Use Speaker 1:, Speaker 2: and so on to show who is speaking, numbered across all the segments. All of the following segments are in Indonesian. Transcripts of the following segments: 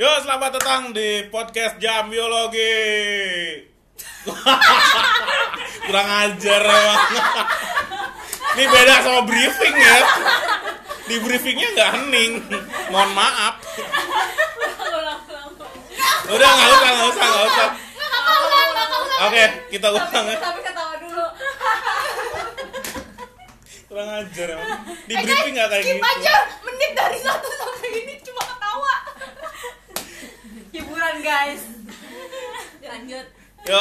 Speaker 1: Yo, selamat datang di podcast Jam Biologi. Kurang ajar emang. Ini beda sama briefing ya. Di briefingnya nggak hening. Mohon maaf. Udah nggak usah, nggak usah, nggak usah. Oke, kita ulang ya.
Speaker 2: Tapi ketawa dulu.
Speaker 1: Kurang ajar emang. Di briefing nggak kayak
Speaker 2: Skip
Speaker 1: gitu.
Speaker 2: aja menit dari satu sampai ini cuma ketawa. Hiburan guys. Lanjut.
Speaker 1: Yo,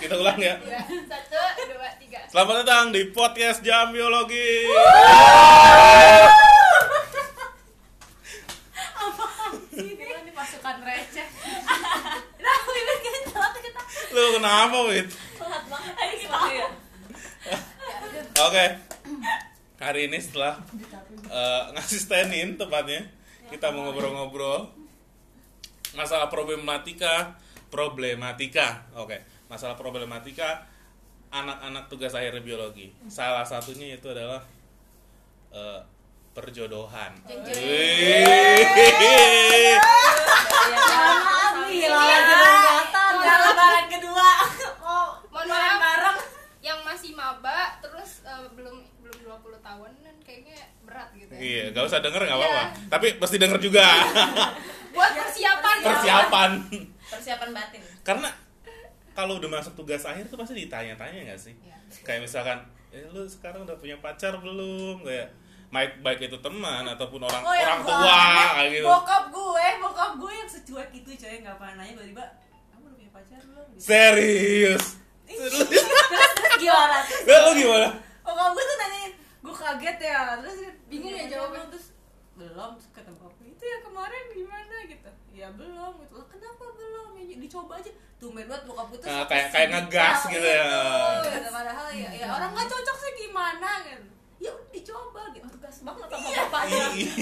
Speaker 1: kita ulang ya.
Speaker 2: Ya. Satu, dua, tiga.
Speaker 1: Selamat datang di podcast Jam Biologi.
Speaker 2: Ini ini pasukan receh. Nah, ini kita telat kita
Speaker 1: Lu kenapa, Wit?
Speaker 2: telat banget. Ayo kita ya.
Speaker 1: Oke. Hari ini setelah eh, ngasih stand in tepatnya, kita mau ngobrol-ngobrol masalah problematika, problematika. Oke, masalah problematika anak-anak tugas akhir biologi. Salah satunya itu adalah eh, perjodohan.
Speaker 2: Jeng, jeng.
Speaker 1: Wih.
Speaker 2: Iya, Maaf nih, lagi berangkatan. Udah lebaran kedua. Oh,
Speaker 3: Mohon
Speaker 2: lebaran
Speaker 3: maaf.
Speaker 2: bareng.
Speaker 3: yang masih maba terus eh, belum belum 20 tahunan kayaknya berat gitu ya.
Speaker 1: Iya, gak usah denger gak apa-apa. Tapi pasti denger juga
Speaker 3: Buat persiapan. ya.
Speaker 1: persiapan.
Speaker 2: Persiapan batin.
Speaker 1: Karena kalau udah masuk tugas akhir tuh pasti ditanya-tanya gak sih?
Speaker 2: Iya.
Speaker 1: kayak misalkan eh, lu sekarang udah punya pacar belum kayak baik baik itu teman ataupun orang
Speaker 2: Oh, yang
Speaker 1: orang tua
Speaker 2: banget.
Speaker 1: kayak gitu
Speaker 2: Bokap gue, bokap gue yang secuek itu coy nggak pernah nanya tiba-tiba kamu udah punya pacar belum? Gitu.
Speaker 1: serius
Speaker 2: terus terus gimana? Terus
Speaker 1: Lah, lu gimana
Speaker 2: Bokap gue tuh nanyain, gue kaget ya, terus dia
Speaker 3: Bingung ya
Speaker 2: "Punya pacar
Speaker 3: jawabnya."
Speaker 2: belum?" terus belum terus kata bokap gue, itu ya kemarin gimana gitu ya belum gitu "Lah, kenapa belum ya, dicoba aja tuh banget bokap gue tuh
Speaker 1: Nah, kayak kayak ngegas
Speaker 2: Tahu
Speaker 1: gitu ya
Speaker 2: itu, gitu. padahal ya, ya orang nggak cocok sih gimana gitu ya udah dicoba gitu gas banget sama bapaknya
Speaker 1: Iya.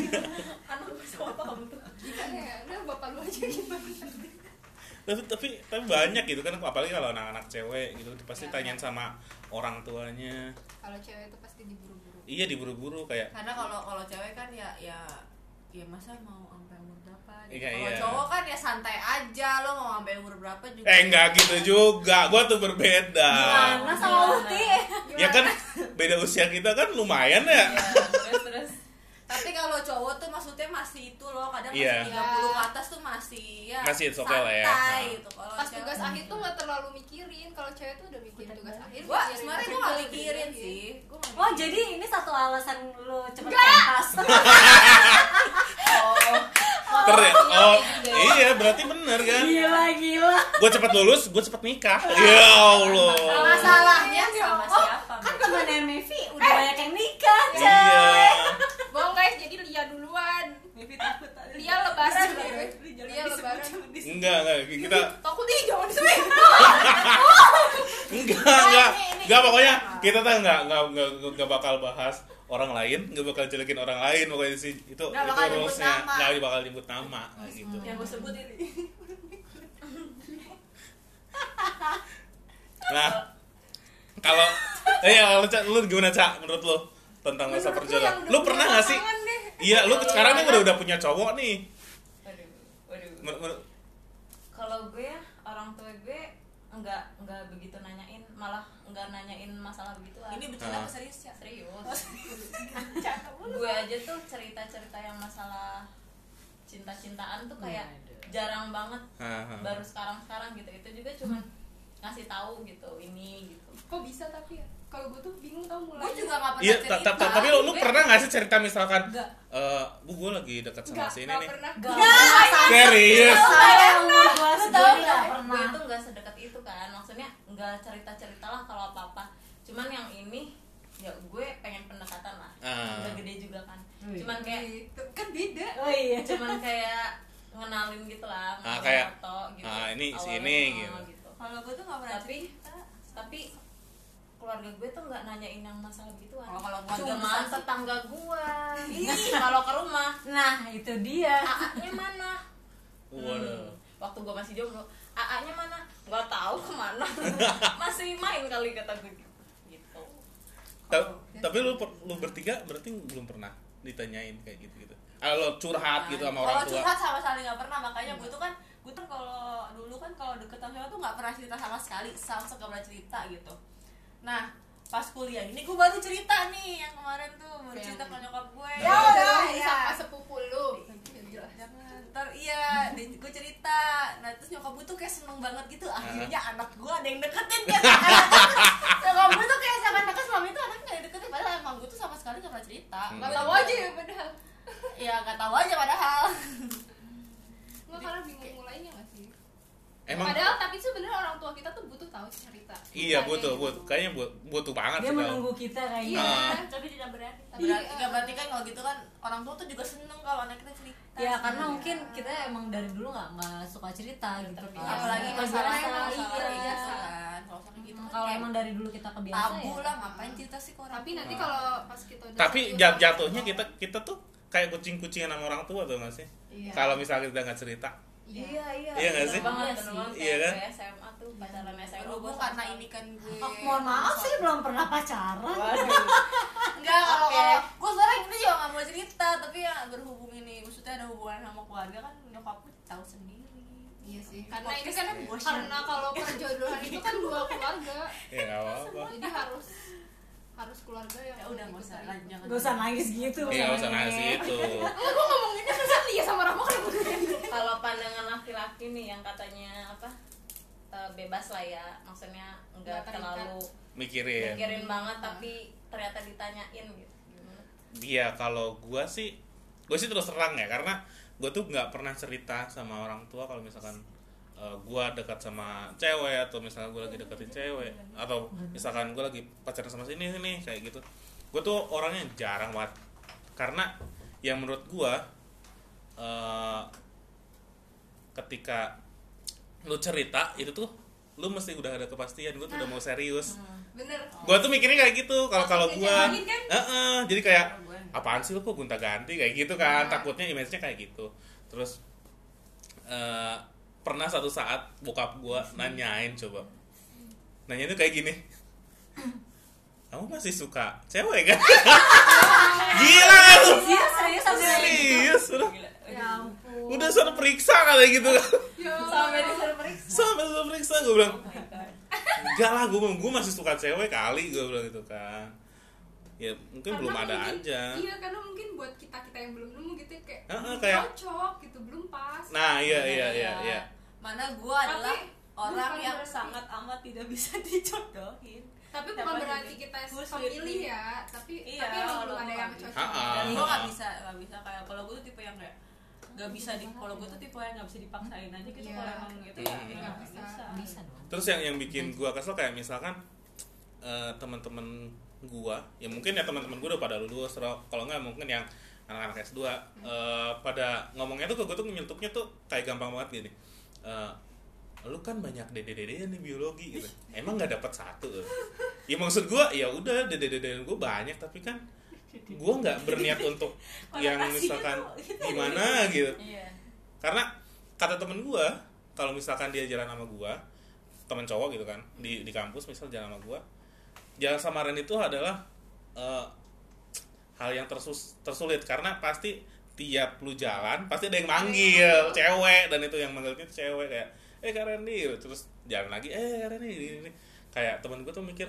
Speaker 2: anak gue sama bapaknya
Speaker 3: Gimana ya? Udah bapak lu aja gimana.
Speaker 1: tapi tapi tapi banyak gitu kan apalagi kalau anak-anak cewek gitu pasti
Speaker 2: Iya,
Speaker 1: tanyain sama orang tuanya
Speaker 3: Kalau cewek itu pasti diburu-buru.
Speaker 1: iya diburu-buru kayak
Speaker 4: karena kalau kalau cewek kan ya ya ya masa mau sampai umur berapa gitu.
Speaker 1: Iya,
Speaker 4: kalau
Speaker 1: iya.
Speaker 4: cowok kan ya santai aja lo mau sampai umur berapa juga ya.
Speaker 1: eh enggak gitu juga gua tuh berbeda
Speaker 4: Gimana?
Speaker 2: Nah, sama
Speaker 4: Gimana?
Speaker 2: Uti
Speaker 1: ya kan beda usia kita kan lumayan ya
Speaker 4: Iya, terus terus tapi kalau cowok tuh maksudnya masih itu loh kadang
Speaker 1: Iya.
Speaker 4: masih 30 ke atas tuh masih ya
Speaker 1: Masih it's okay lah ya.
Speaker 4: santai
Speaker 1: Nah.
Speaker 4: gitu kalau
Speaker 3: Pas
Speaker 4: cewek-
Speaker 3: tugas akhir tuh nggak terlalu mikirin. Kalau cewek tuh udah mikirin tugas akhir.
Speaker 4: gua
Speaker 3: mikirin
Speaker 4: sebenarnya gua
Speaker 3: kerja,
Speaker 4: gak mikirin
Speaker 3: mikirin.
Speaker 4: sih gua nggak
Speaker 2: Oh jadi ini satu alasan lu cepet pentas
Speaker 1: Ter oh, iya berarti bener kan
Speaker 2: Gila gila
Speaker 1: gue cepet lulus, gue cepet nikah. Ya Allah.
Speaker 4: masalahnya sama
Speaker 2: Oh,
Speaker 4: siapa
Speaker 2: Kan temennya Mevi udah banyak yang nikah
Speaker 1: Iya.
Speaker 2: coy
Speaker 3: Bohong guys, jadi Lia duluan.
Speaker 2: Mevi takut tadi
Speaker 3: Lia lebaran
Speaker 4: gitu,
Speaker 3: ya.
Speaker 5: Iya,
Speaker 4: Iya,
Speaker 3: Lia
Speaker 2: Dia
Speaker 3: lebaran.
Speaker 1: Enggak, enggak. Kita
Speaker 3: Takut ih jangan disebut.
Speaker 1: enggak, enggak. Enggak pokoknya kita tuh enggak enggak enggak, enggak bakal bahas orang lain, enggak bakal jelekin orang lain pokoknya di sini. Itu
Speaker 4: Enggak
Speaker 1: itu
Speaker 4: bakal nyebut
Speaker 1: rulesnya.
Speaker 4: nama.
Speaker 1: Enggak bakal nyebut nama nah, gitu.
Speaker 2: Yang gue sebut ini
Speaker 1: Nah, kalau eh ya, lu, Ca, lu gimana, Cak? Menurut lu tentang masa
Speaker 3: Menurut lu yang
Speaker 1: perjodohan?
Speaker 3: udah
Speaker 1: Lu pernah
Speaker 3: punya
Speaker 1: enggak sih?
Speaker 3: pasangan deh.
Speaker 1: Iya, lu sekarang nih udah udah punya cowok nih.
Speaker 5: Waduh, waduh.
Speaker 1: Menurut- menurut-
Speaker 5: Kalau gue ya, orang tua gue nggak nggak begitu nanyain, malah nggak nanyain masalah begitu.
Speaker 4: ini betul
Speaker 1: Ah.
Speaker 4: apa serius ya
Speaker 5: serius. gue aja tuh cerita-cerita yang masalah cinta-cintaan tuh kayak
Speaker 4: Iya,
Speaker 5: jarang banget.
Speaker 1: Ah, ah.
Speaker 5: Baru sekarang-sekarang gitu. Itu juga cuman ngasih tahu gitu ini gitu.
Speaker 3: Kok bisa tapi ya? Kalau gue tuh bingung tau mulai.
Speaker 4: gua juga gak pernah
Speaker 1: Iya, ta- ta- ta- tapi lu, lu
Speaker 4: Gue-
Speaker 1: pernah gak sih cerita misalkan
Speaker 5: Enggak.
Speaker 1: eh bu gue lagi dekat sama
Speaker 3: Nggak,
Speaker 1: si ini
Speaker 3: nggak
Speaker 1: nih
Speaker 3: pernah.
Speaker 1: serius
Speaker 2: Saya umur gue
Speaker 5: Gue
Speaker 2: sendiri gak
Speaker 5: gue
Speaker 2: pernah
Speaker 5: tuh nggak sedekat itu kan maksudnya nggak cerita cerita lah kalau apa apa cuman yang ini ya gue pengen pendekatan lah
Speaker 1: Ah.
Speaker 5: udah gede juga kan
Speaker 2: Wih.
Speaker 5: cuman kayak
Speaker 3: Kan beda.
Speaker 2: Oh iya
Speaker 5: cuman kayak ngenalin gitu lah
Speaker 1: Ah,
Speaker 5: ngenalin
Speaker 1: kayak,
Speaker 5: foto gitu
Speaker 1: ah, ini si
Speaker 5: Awalnya,
Speaker 1: ini,
Speaker 5: ah,
Speaker 1: gitu.
Speaker 5: kalau gue tuh nggak pernah
Speaker 4: Tapi-
Speaker 5: tapi tapi keluarga gue tuh nggak nanyain yang masalah gitu
Speaker 4: Oh, kalau keluarga
Speaker 5: cuman
Speaker 4: besar sih.
Speaker 5: tetangga gue kalau ke rumah
Speaker 2: Nah itu dia
Speaker 5: AA-nya mana
Speaker 1: waduh
Speaker 5: Hmm, waktu gue masih jomblo AA-nya mana nggak tahu kemana masih main kali kata gue gitu
Speaker 1: Ta- tapi lu per- lu bertiga berarti belum pernah ditanyain kayak gitu gitu ah, lo curhat gitu sama orang
Speaker 4: Kalau
Speaker 1: tua
Speaker 4: curhat Kan sama sekali nggak pernah, makanya gue tuh kan gue tuh kalau dulu kan kalau deket sama siapa tuh nggak pernah cerita sama sekali, sama sekali nggak pernah cerita gitu. Nah pas kuliah ini gue baru cerita nih yang kemarin tuh baru
Speaker 6: Yang-
Speaker 4: cerita ke nyokap gue.
Speaker 1: Ya,
Speaker 4: Terus
Speaker 3: ya,
Speaker 4: iya.
Speaker 3: sama sepupu lu Jelas.
Speaker 4: Jangan. Ntar iya, gue cerita. Nah terus nyokap gue tuh kayak seneng banget gitu. Akhirnya
Speaker 7: Ah.
Speaker 4: anak gue ada yang deketin dia. nyokap gue tuh kayak sangat dekat suami itu anaknya nggak deketin. Padahal emang gue tuh sama sekali nggak pernah cerita.
Speaker 1: Hmm.
Speaker 3: nggak tahu aja ya padahal
Speaker 4: Ya nggak tahu aja padahal.
Speaker 3: nggak karena bingung mulainya nggak sih
Speaker 1: emang
Speaker 3: padahal tapi sebenarnya orang tua kita tuh butuh tahu cerita
Speaker 1: iya
Speaker 3: Kayak
Speaker 1: butuh
Speaker 3: gitu.
Speaker 1: butuh kayaknya bu- butuh banget
Speaker 7: dia
Speaker 1: sih kalau-
Speaker 7: menunggu kita kayaknya
Speaker 3: iya
Speaker 1: Ah.
Speaker 5: tapi tidak berani
Speaker 3: Tapi,
Speaker 4: Berarti,
Speaker 3: eh,
Speaker 4: nggak berarti kan kalau gitu kan orang tua tuh juga seneng kalau anak kita cerita.
Speaker 5: Iya,
Speaker 7: ya karena mungkin kita emang dari dulu nggak nggak suka cerita gitu
Speaker 4: Ya,
Speaker 7: kan
Speaker 4: apalagi
Speaker 7: Terbiasa,
Speaker 4: masalah
Speaker 7: iya.
Speaker 4: masalah biasa kan. Kalau misalkan gitu
Speaker 7: Hmm,
Speaker 4: kan
Speaker 7: kalau
Speaker 4: kayak
Speaker 7: emang dari dulu kita kebiasaan
Speaker 4: tabu
Speaker 7: ya.
Speaker 4: lah ngapain cerita sih ke orang
Speaker 3: tapi
Speaker 4: tua?
Speaker 3: nanti kalau pas kita udah
Speaker 1: Nah. tapi
Speaker 3: serius,
Speaker 1: jat- jatuhnya
Speaker 3: oh,
Speaker 1: kita kita tuh kayak kucing-kucingan sama orang tua tuh masih
Speaker 3: iya.
Speaker 1: kalau misalnya kita nggak cerita
Speaker 3: iya
Speaker 5: iya
Speaker 1: Iya nggak sih?
Speaker 5: bener banget, bener
Speaker 7: Iya
Speaker 5: banget.
Speaker 1: sih. Iya kan?
Speaker 5: Kayak SMA tuh pacaran SMA
Speaker 4: Aduh,
Speaker 5: gua
Speaker 4: gue karena ini kan gue
Speaker 7: Oh, mohon maaf sih belum pernah pacaran
Speaker 4: Enggak, kalau
Speaker 5: Oke.
Speaker 4: kalau gue sekarang ini juga gak mau cerita Tapi ya berhubung ini, maksudnya ada hubungan sama keluarga kan Nyokap gue tahu sendiri
Speaker 3: iya sih karena
Speaker 4: Podcast
Speaker 3: ini kan
Speaker 4: kan gua share.
Speaker 3: karena kalau perjodohan itu kan dua keluarga
Speaker 1: ya nggak apa-apa
Speaker 3: jadi harus harus keluarga yang
Speaker 4: Ya udah, gak usah
Speaker 3: ikut
Speaker 4: lanjut
Speaker 7: gak usah nangis gitu
Speaker 1: Iya, nggak usah nangis itu.
Speaker 3: Eh, gua ngomonginnya kan Sally ya sama Rama kan
Speaker 5: kalau pandangan laki-laki nih yang katanya apa eh, bebas lah ya maksudnya nggak
Speaker 3: Nggak terikat.
Speaker 5: terlalu
Speaker 1: Mikirin.
Speaker 5: mikirin banget tapi ternyata ditanyain gitu Gimana?
Speaker 1: Dia Iya, kalau gua sih, gua sih terus terang ya karena gua tuh nggak pernah cerita sama orang tua kalau misalkan eh, gua dekat sama cewek atau misalkan gua lagi deketin cewek atau misalkan gua lagi pacaran sama sini sini kayak gitu. Gua tuh orangnya jarang banget karena yang menurut gua eh, ketika lu cerita itu tuh lu mesti udah ada kepastian gua tuh udah mau serius
Speaker 3: bener
Speaker 1: gua tuh mikirnya kayak gitu kalau kalau
Speaker 3: Takutnya
Speaker 1: gua
Speaker 3: nyamain kan?
Speaker 1: Heeh, jadi kayak apaan sih lu kok gonta ganti kayak gitu
Speaker 7: Iya.
Speaker 1: kan takutnya image-nya kayak gitu terus eh, pernah satu saat bokap gua nanyain coba nanya tuh kayak gini kamu masih suka cewek kan gila kan lu
Speaker 7: Iya serius sampai
Speaker 1: serius udah
Speaker 5: Gila.
Speaker 7: Ya ampun
Speaker 1: udah suruh periksa kali gitu kan
Speaker 3: Ya
Speaker 5: sampai disuruh periksa
Speaker 1: sampai suruh periksa gua bilang enggak lah gue gue masih suka cewek kali gue bilang gitu kan ya mungkin
Speaker 3: Karena
Speaker 1: belum ada
Speaker 3: mungkin-
Speaker 1: aja
Speaker 3: iya karena mungkin buat kita kita yang belum nemu gitu kayak
Speaker 1: Heeh,
Speaker 3: belum
Speaker 1: kayak-
Speaker 3: cocok gitu belum pas
Speaker 1: nah iya iya iya iya
Speaker 4: Mana gue adalah orang
Speaker 3: bukan
Speaker 4: yang
Speaker 3: berarti-
Speaker 4: sangat amat tidak bisa dijodohin
Speaker 3: tapi
Speaker 4: Siapa
Speaker 3: bukan berarti
Speaker 4: jadi?
Speaker 3: kita
Speaker 4: Who's
Speaker 3: pemilih
Speaker 4: with me?
Speaker 3: ya tapi
Speaker 4: Iya,
Speaker 3: tapi emang belum
Speaker 4: kalau
Speaker 3: ada yang
Speaker 4: bukan.
Speaker 3: cocok
Speaker 1: Ha-ha.
Speaker 4: dan gue
Speaker 1: Ah.
Speaker 4: gak bisa gak bisa kayak kalau gue tuh tipe yang kayak gak bisa di kalau gue tuh tipe yang gak bisa dipaksain aja gitu
Speaker 3: Iya.
Speaker 4: kalau emang gitu
Speaker 1: Iya.
Speaker 4: ya nggak
Speaker 3: Bisa.
Speaker 4: bisa
Speaker 7: Bisa dong
Speaker 1: terus yang yang bikin gua kesel kayak misalkan eh, teman-teman gua ya mungkin ya teman-teman gua udah pada lulus terus kalau nggak mungkin yang anak-anak S2 eh, pada ngomongnya tuh ke gua tuh nyetuknya tuh kayak gampang banget gini Eh, lu kan banyak dede-dede nih biologi gitu. emang nggak dapat satu lu? ya maksud gua ya udah dede-dede gua banyak tapi kan gua nggak berniat untuk yang misalkan gimana gitu
Speaker 5: iya
Speaker 1: karena kata temen gua kalau misalkan dia jalan sama gua temen cowok gitu kan di di kampus misal jalan sama gua jalan samaran itu adalah eh, hal yang tersus, tersulit karena pasti tiap lu jalan pasti ada yang manggil cewek dan itu yang manggilnya tuh cewek kayak eh karen nih terus jalan lagi eh karen nih ini, ini. kayak temen gua tuh mikir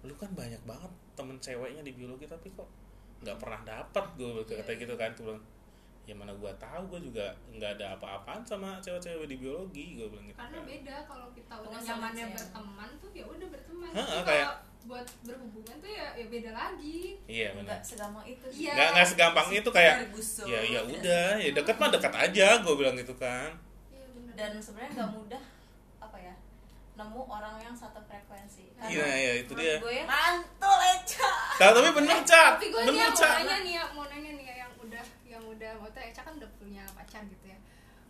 Speaker 1: lu kan banyak banget temen ceweknya di biologi tapi kok nggak pernah dapat gue
Speaker 3: Iya.
Speaker 1: kata gitu kan tuh bilang ya mana gua tahu gua juga nggak ada apa-apaan sama cewek-cewek di biologi gua bilang gitu
Speaker 3: karena beda kalau kita udah
Speaker 4: Pengesalan
Speaker 3: zamannya
Speaker 4: sih ya.
Speaker 3: berteman tuh ya udah berteman
Speaker 1: Heeh,
Speaker 3: Tapi
Speaker 1: kayak-
Speaker 3: kalau buat berhubungan tuh ya ya beda lagi
Speaker 1: iya benar
Speaker 5: nggak segampang itu sih.
Speaker 3: Iya.
Speaker 1: nggak nggak segampang itu kayak
Speaker 4: Tergusur.
Speaker 1: ya ya udah ya deket mah deket aja gua bilang gitu kan
Speaker 3: iya bener
Speaker 5: dan sebenarnya nggak mudah apa ya nemu orang yang satu frekuensi
Speaker 1: iya ya itu dia
Speaker 5: gue
Speaker 4: mantul Eca
Speaker 1: Ta- tapi bener cat
Speaker 3: tapi gue nih
Speaker 1: bener
Speaker 3: yang mau
Speaker 1: cat
Speaker 3: nanya nih ya, mau nanya nih ya, yang udah yang udah maksudnya Eca kan udah punya pacar gitu ya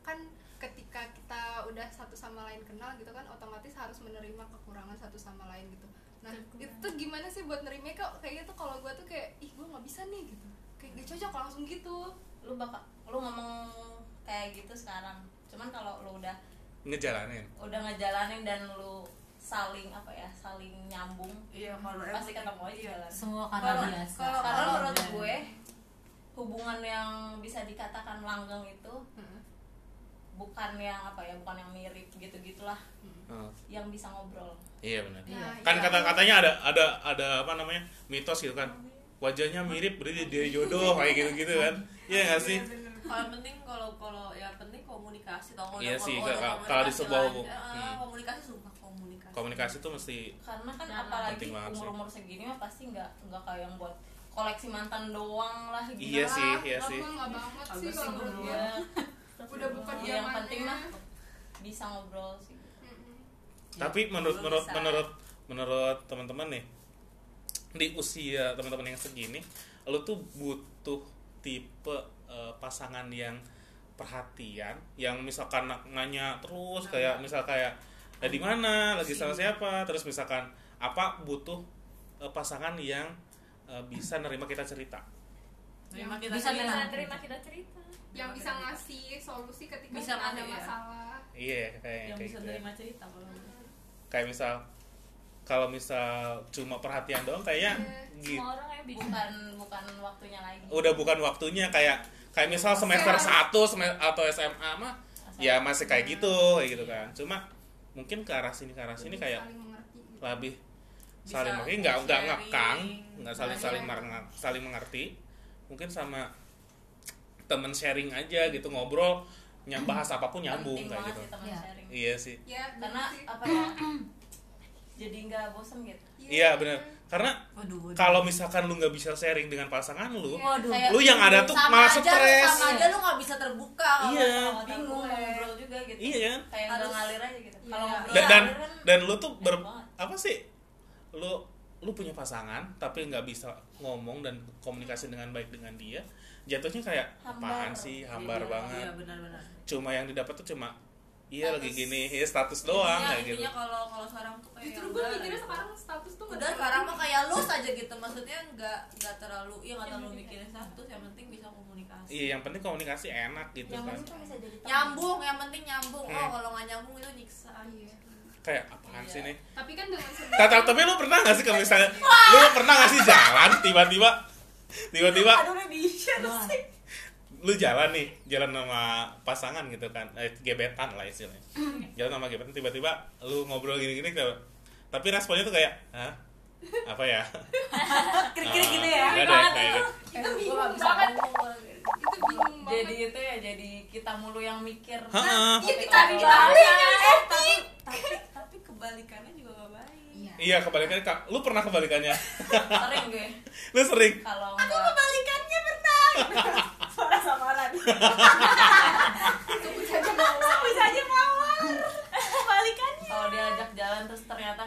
Speaker 3: kan ketika kita udah satu sama lain kenal gitu kan otomatis harus menerima kekurangan satu sama lain gitu nah itu tuh gimana sih buat nerima kok kayaknya tuh kalau gue tuh kayak ih gue nggak bisa nih gitu kayak gak cocok langsung gitu
Speaker 5: lu bakal lu ngomong kayak gitu sekarang cuman kalau lu udah
Speaker 1: ngejalanin
Speaker 5: udah ngejalanin dan lu saling apa ya saling nyambung
Speaker 4: iya kalau
Speaker 7: Iya.
Speaker 5: pasti ketemu aja jalan
Speaker 7: Semua karena
Speaker 5: Kalau-
Speaker 7: biasa
Speaker 5: kalau kalau menurut
Speaker 7: Karena-
Speaker 5: gue hubungan yang bisa dikatakan langgeng itu
Speaker 3: Heeh.
Speaker 5: bukan yang apa ya bukan yang mirip gitu gitulah
Speaker 1: Oh,
Speaker 5: yang bisa ngobrol
Speaker 1: iya benar.
Speaker 3: Nah,
Speaker 1: Kan
Speaker 3: iya.
Speaker 1: kata-katanya ada ada ada apa namanya? mitos gitu kan. Wajahnya mirip berarti dia jodoh kayak gitu-gitu kan. Iya nggak sih?
Speaker 5: kalau penting kalau kalau ya penting komunikasi tau
Speaker 1: Iya
Speaker 5: kalau-
Speaker 1: sih,
Speaker 5: kalau-
Speaker 1: kalau-
Speaker 5: komunikasi
Speaker 1: kalau di sebuah
Speaker 5: lah.
Speaker 1: hubung-
Speaker 5: Eh,
Speaker 4: Ah,
Speaker 1: hmm.
Speaker 5: komunikasi sumpah komunikasi
Speaker 1: Komunikasi tuh mesti
Speaker 5: karena kan
Speaker 7: Nah,
Speaker 5: apalagi
Speaker 1: penting banget sih.
Speaker 5: umur umur segini mah pasti nggak nggak kayak yang buat koleksi mantan doang lah gitu Iya.
Speaker 1: Iya sih, iya sih.
Speaker 3: Enggak banget sih
Speaker 6: Agak
Speaker 3: kalau
Speaker 6: sih
Speaker 3: menurut
Speaker 6: gua.
Speaker 3: gue. Udah bukan
Speaker 5: Yang
Speaker 3: zamannya.
Speaker 5: penting mah bisa ngobrol sih
Speaker 3: Mm-mm.
Speaker 1: Tapi menurut
Speaker 6: Iya, Belum
Speaker 1: menurut
Speaker 6: bisa.
Speaker 1: menurut menurut teman-teman nih di usia teman-teman yang segini, lo tuh butuh tipe eh, pasangan yang perhatian, yang misalkan na-
Speaker 6: Nah.
Speaker 1: nanya terus kayak misal kayak "Eh, di
Speaker 6: Hmm.
Speaker 1: mana, lagi sama siapa, terus misalkan apa butuh eh, pasangan yang eh, bisa nerima kita cerita.
Speaker 5: Terima kita
Speaker 7: Bisa
Speaker 5: cerita.
Speaker 7: nerima.
Speaker 4: terima kita cerita
Speaker 3: Yang bisa ngasih solusi ketika
Speaker 5: Bisa
Speaker 3: ada
Speaker 5: ngasih, ya.
Speaker 3: masalah.
Speaker 1: Iya,
Speaker 6: yang
Speaker 1: kayak kayak
Speaker 6: bisa
Speaker 1: gitu ya.
Speaker 6: terima cerita kalau
Speaker 1: Kayak misal kalau misal cuma perhatian doang kayaknya
Speaker 6: Iya,
Speaker 1: gitu.
Speaker 4: semua orang
Speaker 7: ya,
Speaker 4: yang bisa
Speaker 5: bukan bukan waktunya lagi
Speaker 1: udah bukan waktunya kayak kayak misal semester 1 seme- atau SMA mah ya masih kayak gitu kayak gitu kan cuma mungkin ke arah sini ke arah sini kayak
Speaker 3: saling mengerti. gitu.
Speaker 1: lebih
Speaker 5: Bisa
Speaker 1: saling mengerti nggak nggak
Speaker 5: sharing.
Speaker 1: ngekang nggak saling
Speaker 3: Nah,
Speaker 1: saling
Speaker 3: iya.
Speaker 1: mer- saling mengerti mungkin sama temen sharing aja gitu ngobrol nyam bahas apapun nyambung
Speaker 5: Penting
Speaker 1: kayak
Speaker 5: banget
Speaker 1: gitu
Speaker 5: sih teman
Speaker 7: Iya.
Speaker 5: sharing
Speaker 1: iya sih
Speaker 3: Ya,
Speaker 5: karena
Speaker 3: bener sih.
Speaker 5: apa ya jadi nggak bosen gitu
Speaker 1: iya benar karena
Speaker 7: Waduh, waduh.
Speaker 1: kalau misalkan lu nggak bisa sharing dengan pasangan lu
Speaker 7: Waduh.
Speaker 5: Kayak
Speaker 1: lu yang ada tuh malah
Speaker 4: aja,
Speaker 1: stres
Speaker 4: sama aja lu nggak bisa terbuka kalau
Speaker 1: Iya.
Speaker 4: sama-sama
Speaker 5: bingung mau
Speaker 4: terbuka.
Speaker 5: ngobrol juga gitu
Speaker 1: Iya, kan?
Speaker 5: kayak nggak
Speaker 4: Harus-
Speaker 5: ngalir aja gitu
Speaker 3: Iya.
Speaker 5: kalau ngobrol
Speaker 1: dan dan
Speaker 5: ngalir kan
Speaker 1: dan lu tuh ber
Speaker 5: enak banget.
Speaker 1: apa sih lu lu punya pasangan tapi nggak bisa ngomong dan komunikasi dengan baik dengan dia jatuhnya kayak
Speaker 5: Hambar.
Speaker 1: apaan sih hambar
Speaker 6: Iya,
Speaker 1: banget
Speaker 6: iya benar-benar
Speaker 1: cuma yang didapat tuh cuma iya
Speaker 5: Status.
Speaker 1: lagi gini ya status doang
Speaker 5: Intinya-
Speaker 1: kayak gitu
Speaker 5: intinya kalau kalau sekarang tuh kayak
Speaker 3: Justru
Speaker 5: ya
Speaker 3: gue
Speaker 5: udah,
Speaker 3: mikirnya
Speaker 5: gitu.
Speaker 3: sekarang status tuh nggak
Speaker 5: udah
Speaker 3: ada
Speaker 5: sekarang
Speaker 3: penting.
Speaker 5: mah kayak lu saja gitu maksudnya nggak nggak terlalu ya nggak terlalu mikirin status yang penting bisa komunikasi
Speaker 1: iya yang penting komunikasi enak
Speaker 7: Iya,
Speaker 1: gitu
Speaker 4: yang
Speaker 1: kan
Speaker 4: penting bisa jadi teman.
Speaker 5: nyambung yang penting nyambung oh
Speaker 1: Hmm.
Speaker 5: kalau nggak nyambung itu nyiksa
Speaker 3: Iya.
Speaker 1: kayak apaan
Speaker 5: Iya.
Speaker 1: sih nih
Speaker 3: Tapi kan dengan
Speaker 1: Tata, tapi lu pernah gak sih kalau misalnya lu pernah gak sih jalan tiba-tiba tiba-tiba
Speaker 4: aduh udah di share
Speaker 7: Wah.
Speaker 4: sih
Speaker 1: lu jalan nih jalan sama pasangan gitu kan eh, gebetan lah istilahnya
Speaker 7: Hmm.
Speaker 1: jalan sama gebetan tiba-tiba lu ngobrol gini-gini kayak- tapi responnya tuh kayak Hah? apa ya
Speaker 7: kira-kira gitu ya.
Speaker 1: Nggak ada ya, kayak gitu.
Speaker 3: Itu
Speaker 5: Eh, gua
Speaker 3: bingung
Speaker 5: nggak bisa
Speaker 3: banget.
Speaker 5: ngomong kalau kayak gitu.
Speaker 3: Itu bingung banget.
Speaker 5: jadi itu ya jadi kita mulu yang mikir Nah,
Speaker 1: Heeh.
Speaker 5: Tapi
Speaker 3: Iya, kita
Speaker 5: kalau-
Speaker 3: ditarik,
Speaker 5: Eh, tapi tapi tapi kebalikannya juga gak baik
Speaker 3: Iya.
Speaker 1: iya kebalikannya Kak. lu pernah kebalikannya
Speaker 5: sering gue
Speaker 1: lu sering
Speaker 5: kalau
Speaker 4: aku
Speaker 5: nggak-
Speaker 4: kebalikannya pernah suara samaran aku bisa aja mawar kebalikannya
Speaker 5: kalau diajak jalan terus ternyata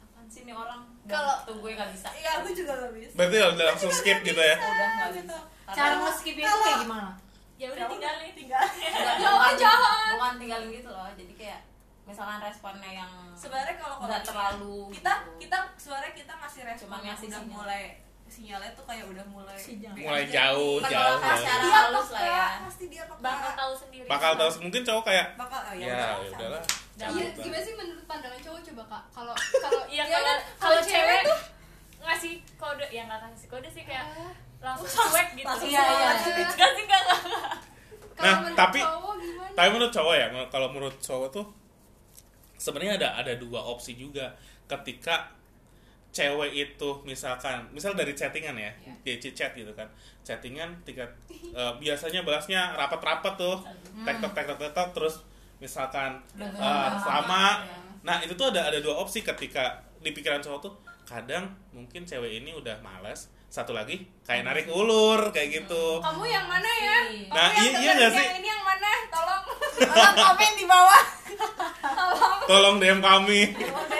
Speaker 5: apaan sih nih orang
Speaker 4: Kalau-
Speaker 5: tuh gue gak bisa
Speaker 4: iya aku juga gak bisa
Speaker 1: berarti udah langsung skip gitu ya
Speaker 5: udah gak bisa Karena-
Speaker 7: Cara ngeskip itu kayak gimana?
Speaker 4: ya udah
Speaker 5: Ya udah.
Speaker 4: tinggalin tinggalin
Speaker 5: jangan jahat bukan tinggalin gitu loh jadi kayak misalkan responnya yang
Speaker 2: sebenarnya kalau kalau
Speaker 5: nggak terlalu
Speaker 2: kita
Speaker 5: gitu.
Speaker 2: kita sebenarnya kita ngasih respon
Speaker 5: Cuma ngasih
Speaker 2: udah
Speaker 5: sinyal.
Speaker 2: mulai sinyalnya tuh kayak udah mulai
Speaker 7: Sinyal.
Speaker 1: mulai jauh jauh
Speaker 5: Penolakan secara
Speaker 2: Dia
Speaker 5: halus lah
Speaker 2: peka,
Speaker 5: ya
Speaker 2: pasti dia peka
Speaker 4: bakal tahu sendiri
Speaker 1: bakal tahu mungkin cowok kayak
Speaker 2: bakal oh, ya,
Speaker 1: ya
Speaker 2: udah,
Speaker 1: udahlah
Speaker 3: Iya,
Speaker 1: Coba.
Speaker 3: gimana sih menurut pandangan cowok coba kak? Kalau kalau
Speaker 4: iya
Speaker 3: ya
Speaker 4: kalau
Speaker 3: kan,
Speaker 4: kalau cewek tuh ngasih kode ya nggak ngasih kode sih kayak
Speaker 3: Ah,
Speaker 4: langsung cuek gitu
Speaker 7: Langsung Iya, iya.
Speaker 3: cuek.
Speaker 4: Nggak sih nggak nggak.
Speaker 3: kalau
Speaker 1: Nah,
Speaker 3: menurut
Speaker 1: tapi-
Speaker 3: cowok gimana?
Speaker 1: Tapi menurut cowok ya, menurut- kalau menurut cowok tuh sebenarnya ada ada dua opsi juga ketika cewek itu misalkan misal dari chattingan ya, dia chat gitu kan. Chattingan tiga eh, biasanya balasnya rapat-rapat tuh. Tektok tektok tektok terus misalkan
Speaker 7: Udah
Speaker 1: eh,
Speaker 7: lama.
Speaker 1: sama.
Speaker 5: Ya.
Speaker 1: Nah, itu tuh ada ada dua opsi ketika di pikiran cowok tuh kadang mungkin cewek ini udah males, satu lagi kayak narik ulur kayak gitu.
Speaker 3: Kamu yang mana ya?
Speaker 7: Iya.
Speaker 3: Kamu
Speaker 1: Nah, iya-
Speaker 3: yang
Speaker 1: iya
Speaker 3: dengerin
Speaker 1: nggak sih?
Speaker 3: yang Ini yang mana? Tolong.
Speaker 4: Tolong komen di bawah
Speaker 1: Tolong DM kami.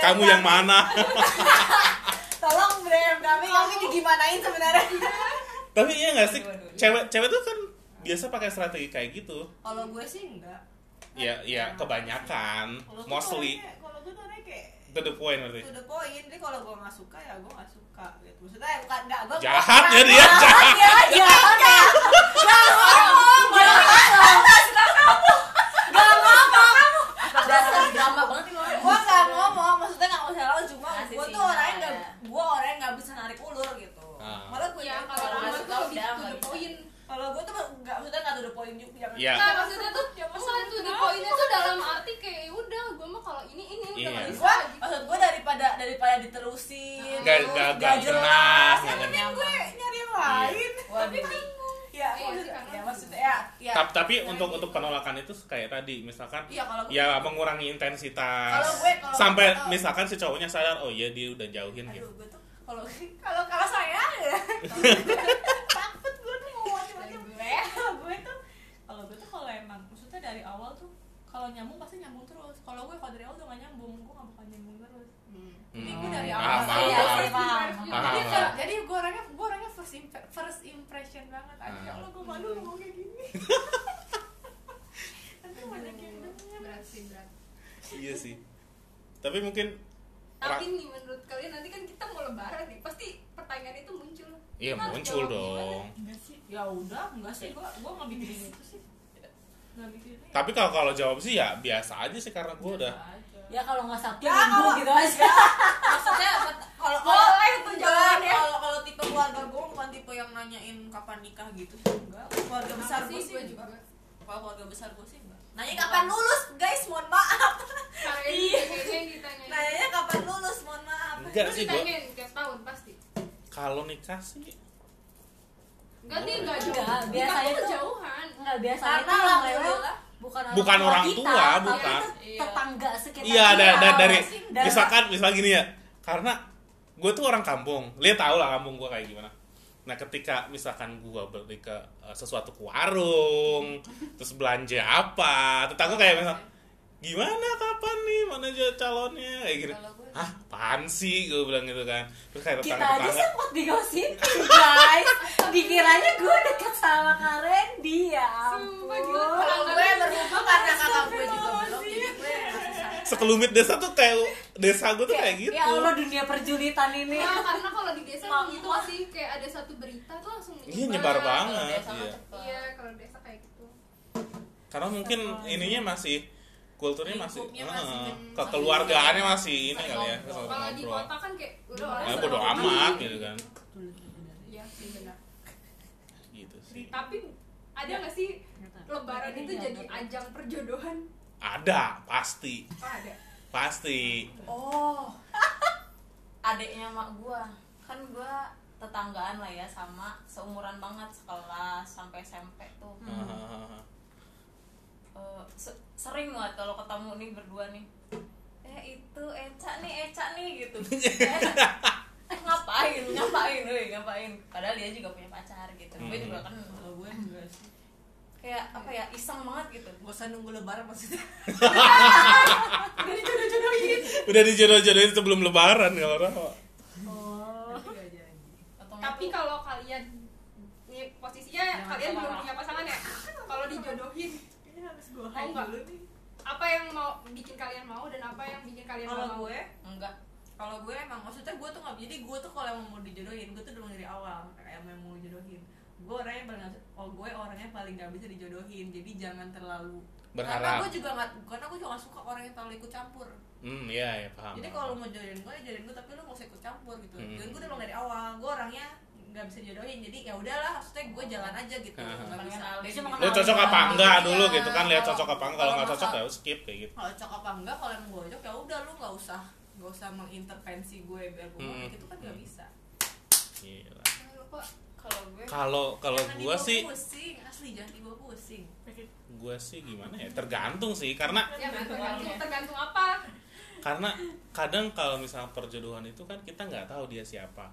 Speaker 1: Kamu yang mana?
Speaker 4: tolong brem kami kami digimanain sebenarnya
Speaker 1: tapi iya nggak sih
Speaker 5: Aduh, aduh, aduh.
Speaker 1: cewek cewek tuh kan biasa pakai strategi kayak gitu
Speaker 5: kalau gue sih enggak
Speaker 1: ya ya kebanyakan
Speaker 2: Kalau gue
Speaker 1: mostly
Speaker 2: orangnya- kalau gue tuh orangnya kayak
Speaker 1: to the point berarti
Speaker 2: to the point jadi kalau gue nggak suka ya gue nggak suka gitu maksudnya bukan nggak gue
Speaker 1: jahat ya dia jahat
Speaker 5: drama drama banget nih gue
Speaker 2: gue nggak ngomong maksudnya nggak usah lalu cuma
Speaker 5: Ngasih
Speaker 2: gue tuh
Speaker 5: sinyal
Speaker 2: orangnya nggak
Speaker 5: aja.
Speaker 2: gue orangnya nggak bisa narik ulur gitu
Speaker 1: Ah.
Speaker 2: malah gue
Speaker 3: Ya
Speaker 2: yang
Speaker 3: kalau
Speaker 5: nggak
Speaker 3: Rama
Speaker 5: suka
Speaker 3: tuh lebih to
Speaker 5: udah, nggak
Speaker 3: the
Speaker 5: bisa.
Speaker 3: point.
Speaker 2: poin juga ya. jangan
Speaker 1: Iya.
Speaker 3: Nah, maksudnya tuh
Speaker 2: Ya, masa
Speaker 3: bukan tuh di
Speaker 2: kenapa?
Speaker 3: poinnya tuh dalam arti kayak "Ya udah gue mah kalau ini ini ini udah
Speaker 1: Iya.
Speaker 3: nggak
Speaker 5: Gua,
Speaker 3: bisa gitu.
Speaker 5: maksud gue daripada daripada diterusin
Speaker 1: Nggak- nggak- nggak jelas,
Speaker 2: Kan
Speaker 1: nggak
Speaker 5: mending
Speaker 1: nyaman.
Speaker 5: gue nyari yang lain
Speaker 2: Iya.
Speaker 3: Tapi
Speaker 5: waduh
Speaker 3: kan
Speaker 2: ya
Speaker 3: Iya sih,
Speaker 2: maksudnya
Speaker 3: karena-
Speaker 2: ya maksudnya ya
Speaker 5: ya
Speaker 1: Tap- tapi untuk untuk penolakan itu kayak tadi misalkan
Speaker 5: iya kalau gue
Speaker 1: ya mengurangi intensitas
Speaker 5: Kalau gue- kalau
Speaker 1: sampai
Speaker 5: gue tau.
Speaker 1: misalkan si cowoknya sadar oh iya dia udah jauhin gitu
Speaker 5: aduh gue tuh kalau kalau kalau saya ya, takut gue tuh mau macam-macam
Speaker 1: ya.
Speaker 2: kalau gue tuh kalau gue tuh kalau emang maksudnya dari awal tuh kalau nyambung pasti nyambung terus kalau gue kalau dari awal udah gak nyambung gue gak bakal nyambung terus
Speaker 1: Hmm.
Speaker 2: Jadi gue dari
Speaker 1: Ah,
Speaker 2: awal ya.
Speaker 1: paham,
Speaker 2: aja
Speaker 1: paham.
Speaker 2: first impression.
Speaker 1: Paham,
Speaker 2: Jadi
Speaker 1: paham.
Speaker 2: kalau- Jadi gue orangnya gue orangnya first imp- first impression banget. Aja
Speaker 1: Ah.
Speaker 2: Allah gue malu ngomong kayak gini. Nanti banyak
Speaker 3: Gitu.
Speaker 2: yang denger.
Speaker 3: berat sih berat
Speaker 1: iya sih tapi mungkin
Speaker 3: tapi nih menurut kalian nanti kan kita mau lebaran nih pasti pertanyaan itu muncul
Speaker 1: iya
Speaker 3: Kita harus
Speaker 1: muncul
Speaker 3: jawab gimana?
Speaker 1: dong
Speaker 2: Enggak sih. Ya udah, enggak sih. Gue gue nggak mikirin itu sih. Nggak mikirin. itu. ya.
Speaker 1: tapi kalau kalau jawab sih ya biasa aja sih karena gue udah
Speaker 2: Aja.
Speaker 7: ya kalau nggak sakit
Speaker 5: Ya,
Speaker 7: minggu
Speaker 5: kalau-
Speaker 7: gitu aja
Speaker 5: maksudnya eh, bet- kalau kalau
Speaker 3: Boleh tuh jawabannya.
Speaker 5: kalau kalau tipe keluarga gue bukan tipe yang nanyain kapan nikah gitu sih enggak keluarga besar
Speaker 3: Apa
Speaker 5: gue sih
Speaker 3: gue juga
Speaker 5: kalau keluarga besar gue sih enggak nanya kapan lulus guys mohon maaf
Speaker 3: kayaknya Nah, kayaknya yang ditanyain
Speaker 5: nanya kapan lulus mohon maaf
Speaker 1: enggak Iya
Speaker 3: Terus
Speaker 1: sih gue
Speaker 3: ditanyain tiap tahun pasti
Speaker 1: kalau nikah sih
Speaker 3: Enggak nih, enggak
Speaker 7: Enggak,
Speaker 3: jauh. Nikah
Speaker 7: biasanya
Speaker 3: tuh
Speaker 7: tuh-
Speaker 3: jauhan.
Speaker 7: nggak biasa
Speaker 5: karena
Speaker 7: itu yang rewel
Speaker 5: alhamdulillah
Speaker 7: bukan orang
Speaker 1: Bukan
Speaker 7: tua
Speaker 1: orang
Speaker 7: kita,
Speaker 1: tua,
Speaker 7: tapi
Speaker 1: bukan.
Speaker 7: tet-
Speaker 6: Iya.
Speaker 7: tetangga sekitar
Speaker 1: iya ada
Speaker 7: kita.
Speaker 1: ada dari
Speaker 7: Pasti ada.
Speaker 1: misalkan misal gini ya karena gue tuh orang kampung lihat tau lah kampung gue kayak gimana nah ketika misalkan gue beli ke eh, sesuatu ke warung terus belanja apa tetangga kayak misal gimana kapan nih mana aja calonnya kayak gitu
Speaker 5: Kalau gue-
Speaker 1: hah apaan sih gue bilang gitu kan terus kayak
Speaker 7: kita
Speaker 1: tetangga
Speaker 7: aja
Speaker 1: tetangga
Speaker 7: sempat digosipin guys dikiranya gue deket sama Kak Randy ya
Speaker 3: Sumpah, gila.
Speaker 7: ampun
Speaker 5: kalau gue berhubung karena kakak gue juga belum jadi gue masih santai.
Speaker 1: sekelumit desa tuh kayak desa gue tuh kayak gitu
Speaker 7: ya Allah dunia perjulitan ini
Speaker 3: Nah, karena kalau digeser
Speaker 7: Mama.
Speaker 3: gitu sih kayak ada satu berita tuh langsung
Speaker 1: iya nyebar
Speaker 5: Kalau
Speaker 1: banget
Speaker 5: desa mah
Speaker 1: iya.
Speaker 5: cepet.
Speaker 3: Iya, kalau desa kayak gitu.
Speaker 1: karena mungkin ininya masih kulturnya masih,
Speaker 5: Lingkupnya masih
Speaker 1: eh,
Speaker 5: men-
Speaker 1: kekeluargaannya masih ini
Speaker 5: Masih
Speaker 1: kali ya
Speaker 5: ngobrol.
Speaker 1: kesel
Speaker 3: Kalau di
Speaker 1: ngobrol.
Speaker 3: kota kan kayak udah
Speaker 1: ya
Speaker 3: orang
Speaker 1: bodo
Speaker 3: serba
Speaker 1: amat
Speaker 3: tahu.
Speaker 1: gitu kan
Speaker 3: Iya, sih benar.
Speaker 1: gitu sih
Speaker 3: Tapi ada nggak sih lebaran itu jadi ajang perjodohan?
Speaker 1: ada pasti
Speaker 3: Oh, ada.
Speaker 1: pasti
Speaker 5: oh adiknya mak gua kan gua tetanggaan lah ya sama seumuran banget sekelas sampai SMP tuh
Speaker 1: Ah,
Speaker 5: Eh, se- sering banget kalau ketemu nih berdua nih eh itu Eca nih Eca nih gitu Eh, ngapain ngapain weh ngapain padahal dia juga punya pacar gitu gue
Speaker 1: Hmm.
Speaker 5: juga kan
Speaker 2: Kalau gue enggak sih.
Speaker 5: kayak apa ya iseng banget gitu
Speaker 2: Gak usah nunggu lebaran maksudnya.
Speaker 5: dari jodoh-jodohin
Speaker 1: udah dijodoh-jodohin sebelum lebaran ya, kalau Rawa.
Speaker 7: oh
Speaker 3: Tapi kalau kalian nih posisinya kalian belum punya pasangan ya? Kalau dijodohin
Speaker 2: Kayaknya harus
Speaker 5: Oh,
Speaker 2: gue
Speaker 3: Mau nggak? apa yang mau bikin kalian mau dan apa yang bikin kalian
Speaker 2: Kalau
Speaker 3: nggak mau?
Speaker 2: gue
Speaker 5: enggak
Speaker 2: kalau gue emang maksudnya gue tuh nggak jadi gue tuh kalau emang mau dijodohin gue tuh udah dari awal kayak emang mau dijodohin gue orangnya paling nggak- oh gue orangnya paling gak bisa dijodohin jadi jangan terlalu karena
Speaker 1: berharap
Speaker 2: gue juga nggak karena gue juga nggak suka orang yang terlalu ikut campur
Speaker 1: hmm ya ya paham
Speaker 2: jadi kalau lu mau jodohin gue ya jodohin gue tapi lu nggak usah ikut campur gitu
Speaker 1: Hmm.
Speaker 2: dan gue udah bilang dari awal gue orangnya nggak bisa jodohin jadi ya udahlah maksudnya gue jalan aja gitu
Speaker 1: Ah.
Speaker 2: nggak bisa
Speaker 5: Dia cuma
Speaker 1: lo cocok apa
Speaker 5: Iya,
Speaker 1: enggak dulu gitu kan lihat
Speaker 2: kalau-
Speaker 1: cocok apa enggak kalau
Speaker 2: kalau
Speaker 1: nggak cocok ya
Speaker 2: masalah-
Speaker 1: skip kayak gitu
Speaker 2: kalau cocok apa enggak kalau emang gue cocok ya udah lu nggak usah nggak usah mengintervensi gue biar gue
Speaker 1: Hmm.
Speaker 2: gitu kan nggak bisa
Speaker 1: Gila.
Speaker 3: Jangan lupa
Speaker 5: kalau gue
Speaker 1: kalau kalau
Speaker 2: Jangan
Speaker 1: gue
Speaker 2: dibawa
Speaker 1: sih
Speaker 2: Kan pusing asli jangan dibawa pusing
Speaker 1: gue sih gimana ya tergantung sih karena
Speaker 3: ya kan, tergantung, tergantung apa
Speaker 1: karena kadang kalau misalnya perjodohan itu kan kita nggak tahu dia siapa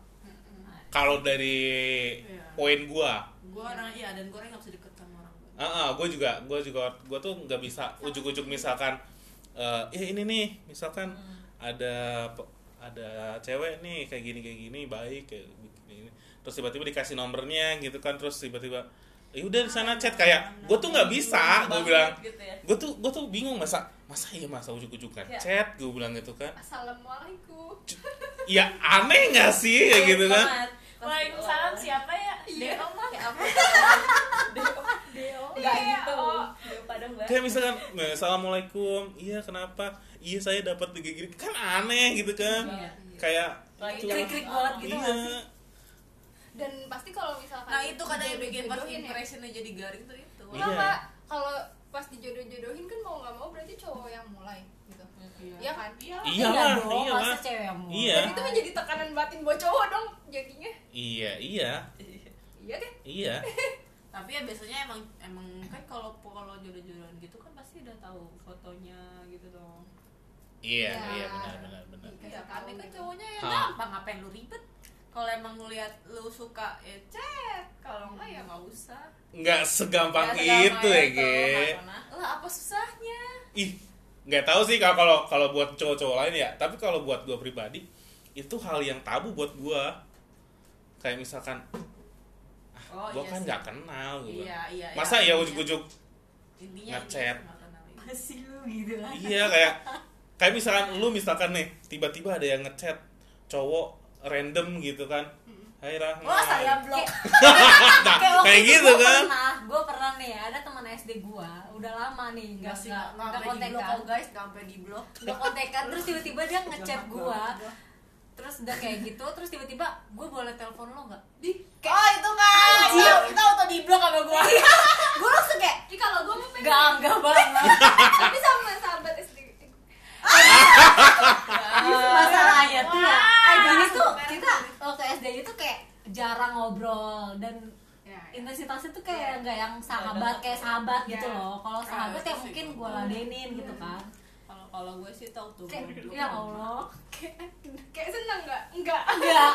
Speaker 1: kalau dari
Speaker 2: Iya.
Speaker 1: poin gua
Speaker 2: gue orang iya dan gue orang nggak bisa deket sama orang gue
Speaker 1: Ah, gue juga, gue juga, gue tuh nggak bisa ujuk-ujuk misalkan, eh "Ih, ini nih, misalkan ada pe- ada cewek nih kayak gini kayak gini baik kayak gini, gini. terus tiba-tiba dikasih nomornya gitu kan, terus tiba-tiba, ya udah di sana chat kayak, gue tuh nggak bisa, gue
Speaker 5: Banget
Speaker 1: bilang,
Speaker 5: gitu ya
Speaker 1: gue tuh gue tuh bingung masa masa iya masa ujuk-ujukan
Speaker 5: Ya.
Speaker 1: chat, gue bilang gitu kan,
Speaker 3: assalamualaikum
Speaker 1: ya aneh nggak sih kayak gitu kan,
Speaker 5: Waalaikumsalam siapa ya?
Speaker 3: Iya.
Speaker 5: Deo mah ya apa? Deo. Enggak gitu. Deo Padang Mbak.
Speaker 1: kayak misalkan, "Nah, assalamualaikum, iya kenapa, iya saya dapat gini gini kan aneh gitu kan,
Speaker 5: Iya.
Speaker 1: kayak
Speaker 5: Lagi
Speaker 1: gitu.
Speaker 7: krik-krik banget gitu
Speaker 1: iya.
Speaker 7: nggak sih?
Speaker 3: dan pasti kalau misalkan
Speaker 2: nah itu kadang yang bikin first
Speaker 3: jodohin ya.
Speaker 2: impressionnya jadi garing tuh itu
Speaker 3: Nggak,
Speaker 1: Iya.
Speaker 3: Pak. kalau pas dijodoh-jodohin kan mau nggak mau berarti cowok yang mulai gitu iya kan iya
Speaker 1: Iya lah, iya lah.
Speaker 7: cewek yang mau.
Speaker 1: Iya.
Speaker 3: itu menjadi tekanan batin buat cowok dong jadinya
Speaker 1: Iya, iya,
Speaker 3: iya deh
Speaker 1: iya.
Speaker 2: tapi ya biasanya emang emang kan kalau kalau jodoh-jodohan gitu kan pasti udah tahu fotonya gitu dong
Speaker 1: Iya,
Speaker 3: Ya.
Speaker 1: iya benar benar benar.
Speaker 2: Iya, tapi kan
Speaker 3: cowok
Speaker 2: cowoknya ya
Speaker 1: Hah.
Speaker 2: gampang ngapain lu ribet. Kalau emang lu lihat lu suka ya chat, kalau enggak ya nggak usah.
Speaker 1: Nggak segampang
Speaker 2: Ya, sama
Speaker 1: itu ya, Ge.
Speaker 2: sama. Lah apa susahnya?
Speaker 1: Ih, nggak tahu sih kalau kalau kalau buat cowok-cowok lain ya, tapi kalau buat gua pribadi itu hal yang tabu buat gua. Kayak misalkan
Speaker 2: Oh
Speaker 1: gua kan
Speaker 2: sih.
Speaker 1: nggak kenal gitu.
Speaker 2: Iya, iya.
Speaker 1: Masa ya
Speaker 2: intinya-
Speaker 1: ujuk-ujuk
Speaker 2: intinya gitu,
Speaker 1: ngechat.
Speaker 2: dia nggak kenal ini.
Speaker 7: Masih lu gitu lah.
Speaker 1: Iya kayak kayak misalkan lu misalkan nih tiba-tiba ada yang ngechat cowok random gitu kan. Hai
Speaker 2: Oh,
Speaker 1: Rahma.
Speaker 2: ya
Speaker 7: Wah Oh, saya blok.
Speaker 1: Nah,
Speaker 7: Kayak waktu
Speaker 1: kayak
Speaker 7: itu
Speaker 1: gitu
Speaker 7: gua
Speaker 1: kan.
Speaker 7: Pernah, gue pernah nih ada teman SD gue, udah lama nih nggak
Speaker 2: Nggak sih,
Speaker 7: nggak
Speaker 2: nggak sampai
Speaker 7: nggak
Speaker 2: di blok
Speaker 7: kontekan,
Speaker 2: kok guys, nggak sampai di blok.
Speaker 7: nggak kontekan. Terus tiba-tiba dia ngechat gue, terus udah kayak gitu, terus tiba-tiba gue boleh telepon lo nggak? Iya, Di,
Speaker 4: Oh itu
Speaker 2: Iya,
Speaker 4: kan.
Speaker 7: Anjir.
Speaker 4: Kita auto di blok sama gua.
Speaker 7: gue langsung kayak
Speaker 3: Jadi kalau gue mau pengen
Speaker 7: nggak nggak banget.
Speaker 3: tapi sama sahabat SD
Speaker 7: masalahnya tuh ya eh, jadi tuh kita waktu SD itu kayak jarang ngobrol dan
Speaker 3: ya, ya.
Speaker 7: intensitasnya tuh kayak Iya. nggak yang sahabat kayak sahabat gitu
Speaker 2: Iya.
Speaker 7: loh kalau sahabat
Speaker 2: itu
Speaker 7: ya
Speaker 2: sih.
Speaker 7: mungkin gue ladenin gitu kan
Speaker 1: Iya.
Speaker 2: Kalau kalau gue sih tau tuh.
Speaker 7: kayak
Speaker 2: gue
Speaker 7: ya allah
Speaker 3: kayak kayak seneng nggak enggak
Speaker 7: enggak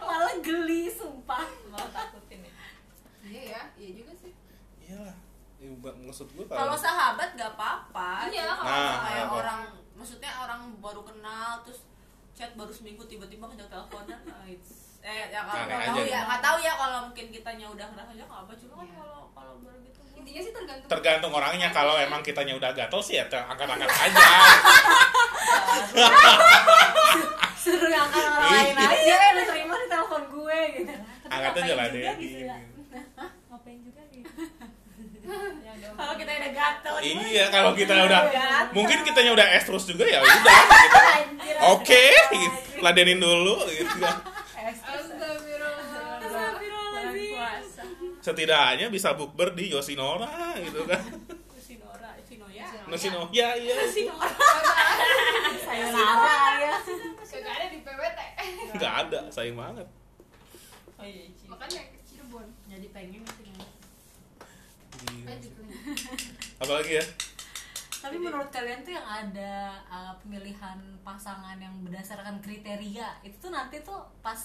Speaker 7: malah geli sumpah
Speaker 2: Malah takutin ya.
Speaker 3: iya ya iya juga sih
Speaker 1: Iyalah. Ya, maksud gua
Speaker 2: Kalau
Speaker 1: kalau
Speaker 2: sahabat nggak apa-apa.
Speaker 3: Iya,
Speaker 2: Cuma
Speaker 1: kalau
Speaker 2: kayak
Speaker 1: sahabat.
Speaker 2: orang maksudnya orang baru kenal terus chat baru seminggu tiba-tiba ngejak teleponan nah, it's- eh ya kalau
Speaker 1: Aneh
Speaker 2: nggak
Speaker 1: aja
Speaker 2: tahu
Speaker 1: gitu.
Speaker 2: ya nggak tahu ya kalau mungkin kitanya udah ngerasa aja nggak apa cuma kan
Speaker 3: Iya.
Speaker 2: kalau kalau baru gitu gua-
Speaker 3: intinya sih tergantung
Speaker 1: tergantung orangnya kalau emang kitanya udah gatel sih ya ter- angkat-angkat aja.
Speaker 7: suruh angkat orang lain aja eh lu terima di telepon gue gitu Tapi
Speaker 1: Angkat aja
Speaker 7: ngapain
Speaker 1: lah
Speaker 7: juga
Speaker 1: dia.
Speaker 7: gitu ya. Hah? ngapain juga gitu
Speaker 2: kalau kita udah gatel
Speaker 1: Iya, kalau kita udah
Speaker 2: Gatel.
Speaker 1: mungkin kitanya udah es terus juga ya udah gitu.
Speaker 7: Anjir,
Speaker 1: Oke,
Speaker 7: anjir.
Speaker 1: gitu. ladenin dulu gitu.
Speaker 3: Astagfirullah
Speaker 7: kan.
Speaker 2: bulan
Speaker 7: Iya.
Speaker 2: puasa
Speaker 1: Setidaknya bisa bukber di Yosinora gitu kan.
Speaker 2: Sinora Sinoya
Speaker 1: Yoshinoya iya.
Speaker 7: sayonara ya
Speaker 3: kagak ada di PWT
Speaker 1: Enggak ada, sayang banget.
Speaker 2: oh iya Ci.
Speaker 3: makanya ke Cirebon
Speaker 2: jadi pengen Sinoya
Speaker 7: Iya.
Speaker 1: Gila
Speaker 3: Magic
Speaker 1: sih.
Speaker 3: link.
Speaker 1: Apalagi ya?
Speaker 7: Tapi menurut kalian tuh yang ada uh, pemilihan pasangan yang berdasarkan kriteria itu tuh nanti tuh pas